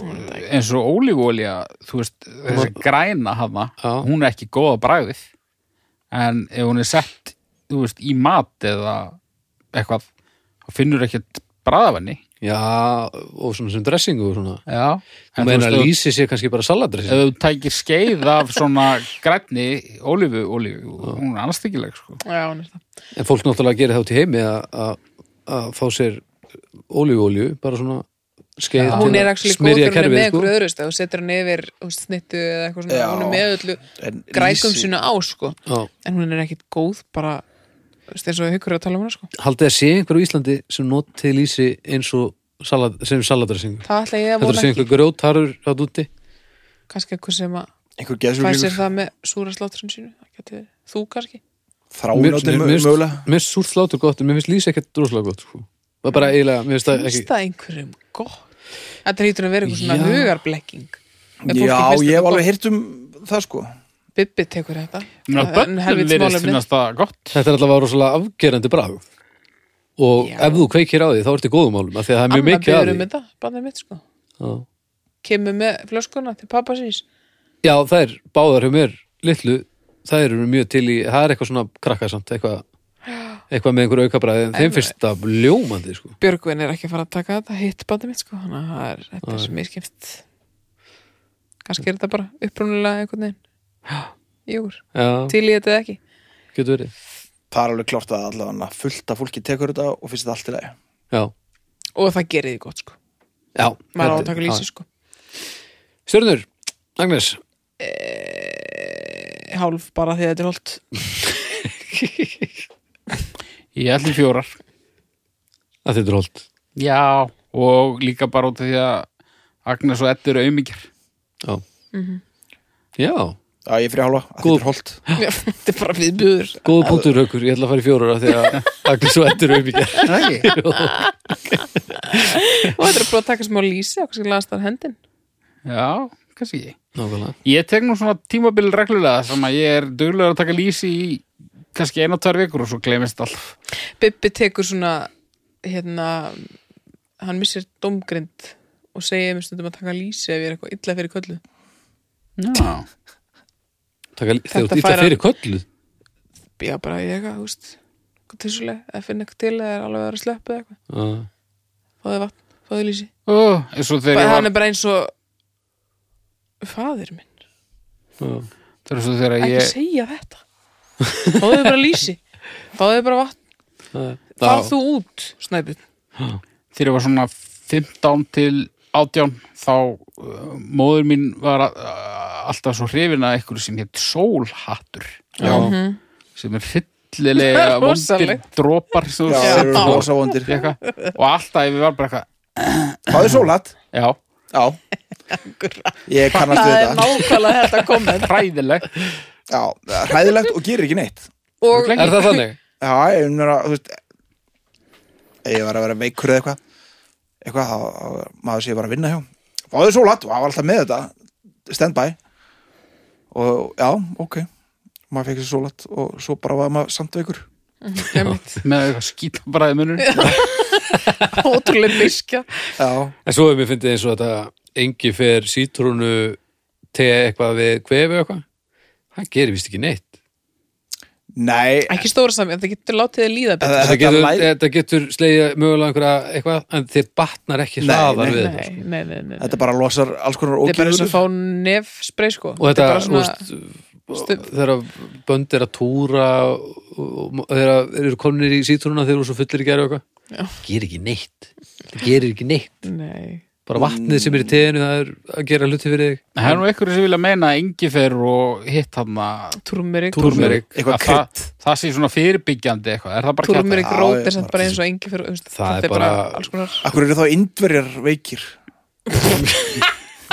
eins og ólífólja þú veist, þessi græna hana
Já.
hún er ekki góða bragðið en ef hún er sett þú veist, í mat eða eitthvað, þá finnur ekkert bragðafanni
Já, og svona sem dressingu og svona
já,
Þú
en þú
meina að
veist,
lýsi sér kannski bara
ef-
saladressingu
ef þú tækir skeið af svona grænni ólífu, ólífu, hún er anstækileg sko.
Já, hún er það
En fólk náttúrulega gerir þá til heimi að- að að fá sér ólíuolju, bara svona skeið
hún
til
er
að
ekki góð
smyrja
þegar hún er með
kerfið, sko.
einhverju öðru þú setur hann yfir þú veist, snittu eða eitthvað svona
Já.
hún er með öllu grækum sína á sko
Já,
en hún er ekkit góð bara þú veist, eins og hyggur að tala um hana sko
haldið að sé einhver á Íslandi sem noti lýsi eins og salad, sem saladressingu
það ætla ég að
Þetta er
vona
sem
ekki
einhver grjótarur rátt úti
kannski eitthvað sem að
einhver
fæ sér
geðsjúklingur,
það með súra slátturinn sínu Það gæti, þú kannski
Mér
þráinóttir
mér- mér finnst-
mögulega
mér finnst súrt slátur gott en mér finnst lýsi ekkert rosalega gott sko. Það er bara eiginlega, mér finnst það
finnst
ekki
það einhverjum gott þetta hýtur að vera eitthvað svona
Já.
hugarblekking Ef fólki finnst
já, ég
þetta
hef alveg
gott.
heyrt um það sko
Bibbi tekur þetta Það
Ná,
er
bönnum
helvítis
virðist
málefni.
finnast það gott
Þetta er allavega rosalega afgerandi bragð og
Já.
ef þú kveikir á því þá ertu í góðum málum af því að það er mjög
Amma
mikið
biður
að
um
því
þetta, barnið mitt sko
Já.
kemur með flöskuna til pappa síns
Já, það er báðar hjá mér litlu, það eru mjög til í það er eitthvað svona krakkasamt eitthvað, eitthvað með einhverju aukabræði en þeim finnst það ljómandi sko.
Björgvin er ekki að fara að taka þetta hitt barnið mitt sko þannig að það er- þetta er miskipt kannski er þetta bara upprúnulega einhvern veginn Júr,
Já,
til í þetta eða ekki
getur verið
það er alveg klart að allavega fullt að fólki tekur þetta og finnst þetta allt í lagi
Já,
og það gerir því gott sko
Já
maður á
þetta-
að taka lýsi sko
Já. Stjörnur, Agnes
e hálf bara því að þetta er holt
ég ætlum fjórar
að þetta er holt
já. og líka bara
Mhm.
út af því að Agnes og Eddi eru auðmikjar
Já, Já.
Já, ég er fyrir hálfa, að
Góð.
þetta er holt
Já, þetta er bara viðbjöður
Góð punktur, Haukur, ég ætla að fara í fjórur af því að Agnes og Eddur um í gerð
og þetta er að prófa að taka smá lýsi og kannski lagast þar hendin
Já, kannski ekki.
Nákvæmlega
Ég tek nú svona tímabil reglulega sem að ég er duglegur að taka lýsi í kannski eina og tvær vikur og svo glemist allt.
Bibbi tekur svona hérna hann missir domgrind og segir mér stundum að taka lýsi ef ég er eitthvað illa fyrir köllu
Já.
Taka, þegar þú
Þetta
ítla
færa-
fyrir köllu
já bara ég eitthvað, þú veist eitthvað tilsuleg, eða finna eitthvað til eða er alveg að vera að sleppa eða eitthvað, fáðu vatn, fáðu lýsi
Ó, eins og þegar
bara
ég
hann
var,
er bara eins og fadir minn,
þegar svo þegar
ekki
ég,
segja þetta fáðu bara lýsi fáðu bara vatn, fáðu þú út snæpun,
þegar ég var svona 15 til 18 þá uh, móður mín var uh, alltaf svo hrifin að einhverju sem hétt sólhattur
Já,
sem er fyllilega vondir
Rosalegt.
dropar sem
Já,
þú
það eru
setur á-
rosa vondir
í eitthvað. og alltaf ég var bara eitthvað
Það er sólat,
Já,
já Ég
það er
kannast við þetta
nákvæmlega þetta komment
hræðileg
Já, hræðilegt og gerir ekki neitt
og
er það þannig?
Já, ég unnur að, þú veist ef Ég var að vera veikur eða eitthvað Eitthvað, þá- þá- maður sé ég var að vinna hjá Fáðu sólat, og það var alltaf með þetta Stand by Og já, ok Maður fekk sér sólat og svo bara var maður samt veikur
Einmitt.
með eitthvað skítabræði munur
ótrúlega biskja
Já,
En svo hefur mér fyndið eins og þetta engi fer sítrónu te eitthvað við kvefi eitthvað hann gerir vist ekki neitt
nei
ekki stóra sami, þetta eh, getur látið að líða betur
Þetta
Þetta getur,
læ-
þetta getur slegið mögulega einhverja eitthvað en þið batnar ekki
Nei,
hraðar
nei,
við þetta
nei,
sko.
nei, nei, nei, nei.
Þetta bara losar alls konar
þetta er bara eins og
ógjörður
að fá nef spray sko
og þetta,
er bara
þú
svona
veist
stuð-
þegar bönd er að túra og og þegar þeir eru komnir í sítrúna þegar þú svo fullir í gerðu
Já.
eitthvað gerir ekki neitt, það gerir ekki neitt
nei,
bara vatnið sem er
Mm.
í teginu það er að gera hluti fyrir þig
Það er nú einhverju sem vilja meina að engifer og hitt hann að
túrmerik
Túrmerik.
Eitthvað
að það, það sé svona fyrirbyggjandi eitthvað, er það bara kjátt
túrmerik
Já,
rót
ég-
er samt bara eins og engi fyrir umst,
Það er
þetta er bara
bara-
alls konar
Akkur eru þá indverjar veikir?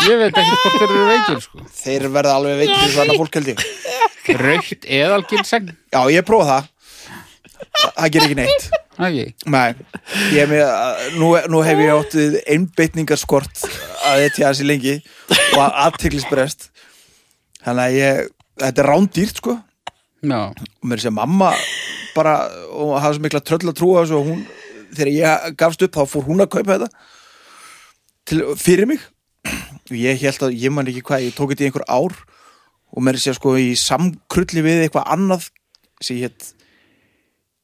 ég veit ekki hvort þeir eru veikir sko.
Þeir verða alveg veikir eins og annað fólk held ég
raukt eðalginseng
Já, ég prófa það Þa- Það gerir ekki neitt
okay.
Nei, ég er með að- nú, nú hef ég átt við einbeitningarskort að þetta hans í lengi og aðteglisbrest Þannig að ég, þetta er rándýrt sko og
no.
mér sé að mamma bara, og hafa svo mikla tröll að trúa þessu og hún, þegar ég gafst upp þá fór hún að kaupa þetta til, fyrir mig og ég held að, ég man ekki hvað, ég tók þetta í einhver ár og mér sé sko í samkrulli við eitthvað annað sem ég hétt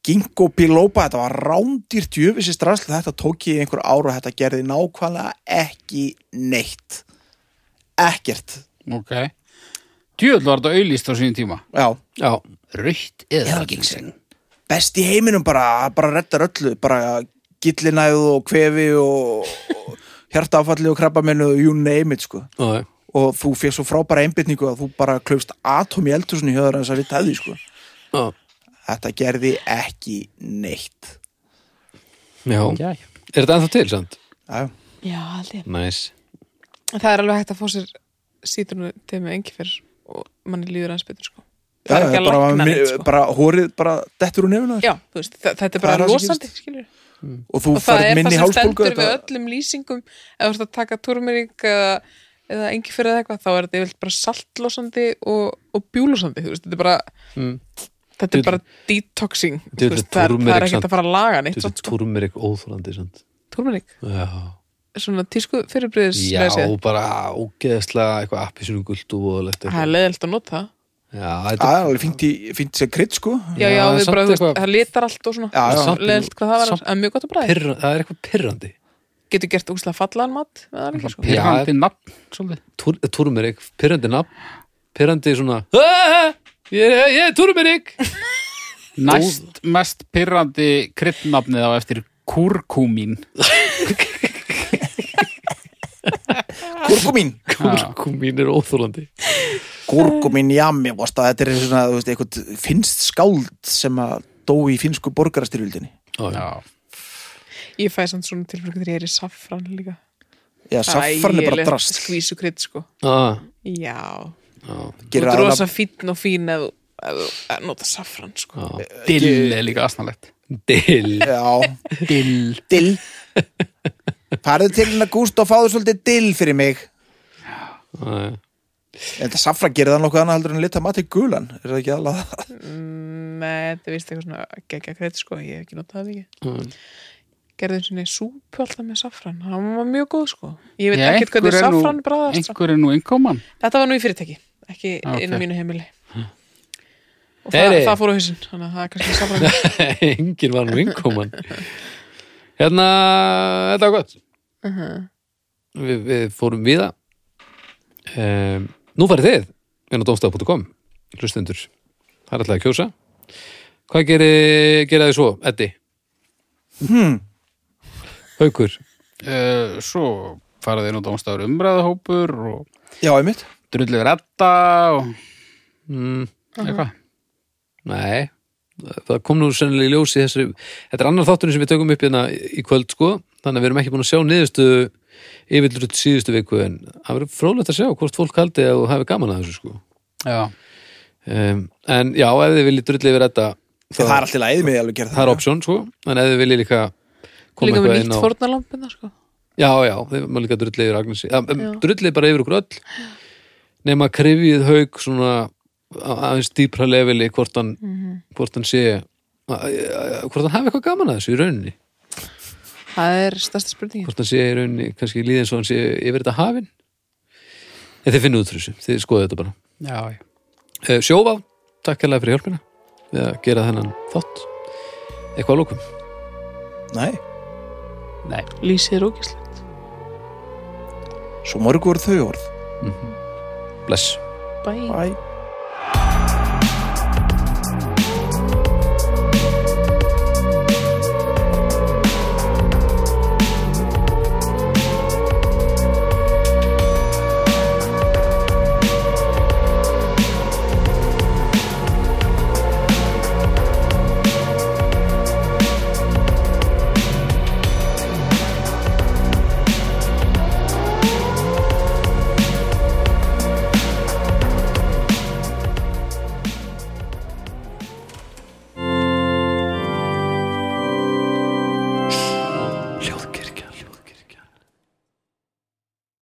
Ginkgo Biloba, þetta var rándýrt jöfisins drasl, þetta tók ég í einhver ár og þetta gerði nákvæmlega ekki neitt ekkert,
ok djöðl var þetta auðlýst á sínum tíma
já
já,
raukt eðalginseng
best í heiminum bara, bara reddar öllu, bara gillinæðu og kvefi og, og hjartaáfalli og krabbamennu og you name it sko.
já, já.
og þú fyrir svo frábæra einbytningu að þú bara klaufst atom í eldhúsinu hjá þar eins að við tæði sko.
já.
þetta gerði ekki neitt
já. er þetta ennþá til, sant?
já,
já, aldrei.
næs,
það er alveg hægt að fá sér sítrunu til með engi fyrir og manni líður hans betur sko
já,
það er ekki að
bara,
lækna
mi-
neitt sko
bara hórið bara dettur úr nefnum
já, þú veist, þa- þetta er
Það er
bara
það sem
losandi
gerist.
skilur
og þú
og það
færð
er það
minni
sem
hálsbólgu
stendur við
þetta-
öllum lýsingum eða þú ert að taka túrmyring eða, eða engi fyrir eða eitthvað þá er þetta yfirleitt bara saltlosandi og, og bjúlosandi þú veist, þetta er bara þetta er
Mm. Djöfull-
bara detoxing þú
djöfull
veist, það, er, það
túrmerik
er ekkert
samt.
að fara að laga neitt
þetta er
samt, sko.
túrmerik óþólandi, sant?
túrmyring,
já,
svona tísku fyrirbriðis
já bara ógeðslega eitthvað appi sinum guld og voðalegt
það er
eitthvað.
leðilt að nota það.
já,
það
þetta
er alveg fínt, í, fínt sem krydd sko
já, já,
Já,
við
samt
bara, þú veist,
eitthvað-
það litar allt og
Já, já.
svona
Samt-
leðilt hvað það var,
samt-
en mjög gott að bræði
pirra, það er eitthvað pirrandi
getur gert úslega fallaðan mat með það líka, sko.
Já.
pirrandi nafn svolítið.
Túr, túrmerik, pirrandi nafn pirrandi svona "Ah, ég er, ég er túrmerik
næst mest pirrandi kryddnafnið á eftir kúrkúmín
kurkumín
kúrkumín er óþólandi
Gúrgumin Jami vost að þetta er svona, þú veist, eitthvað finnst skáld sem að dó í finnsku borgarastyrjöldinni.
já, já.
Já.
ég fæ samt svona tilfrökk þegar ég er í saffran líka
Já, saffran er bara drast.
skvísukrydd sko
Ah,
já,
já.
Þú
gerir
ert
aðra
rosa fínn og fín ef þú- ef þú nota safran sko.
Dill er líka aðsnalegt
Dill
Já,
Dill
dill Farðu til hennar gúst og fáðu svolítið dill fyrir mig En þetta safra gerir það nokkuð annað heldur en lita mati gulan Er það ekki alveg það?
Nei, þetta er vist eitthvað svona geggja kredd sko, ég hef ekki notað það ekki Gerði eins og neins súpu alltaf með safran Hann var mjög góð sko Ég veit ekkert hvernig sko. safran bræðast
Einhver er nú innkoman
Þetta var nú í fyrirtæki, ekki
Ah, ok.
inn á mínu heimili Og það,
Heyri.
það fór á hausinn Þannig að það er kannski safran
Engin var nú innkoman Hérna, þetta var gott við, við fórum viða um, Nú farið þið en á domstaf.com hlustendur, það er alltaf að kjósa Hvað gerir gera þið svo, Eddi? Hmm Haukur
uh, Svo faraði nú dómstafur umræðahópur og
Já, einmitt
drullið redda og
mm,
eitthvað
Nei, það kom nú sennilega í ljósi þessari, þetta er annar þátturinn sem við tökum upp hérna í kvöld sko, þannig að við erum ekki búin að sjá niðurstu yfirlut síðustu viku en það verður frólægt að sjá hvort fólk haldi að þú hafi gaman að þessu sko
Já,
um, en já, ef þið viljið drullið yfir þetta
Það, er allt í lagið mig alveg gera
það er option sko, en ef þið viljið líka koma
Líka með
eitthvað inn
nýtt
á
fórnalampina sko
já, já, þið má líka drullið yfir Agnesi ja, um, drullið bara yfir okkur öll nema krifið haug svona á- aðeins dýpra leveli hvort hann, hvort hann sé a- a- a- hvort hann hafi eitthvað gaman að þessu í rauninni
Það er stærsta spurningin
hvort hann sé í rauninni, kannski líða eins og hann sé yfir þetta hafin en þið finnum út fyrir þessu, þið skoðu þetta bara
já, já
Eh, Sjóvá, takk hérlega fyrir hjálpina við að gera þennan þátt eitthvað að lókum
Nei,
Nei,
Lýsið er ógislegt
svo mörg voru þau orð
bless
Bæ
Bye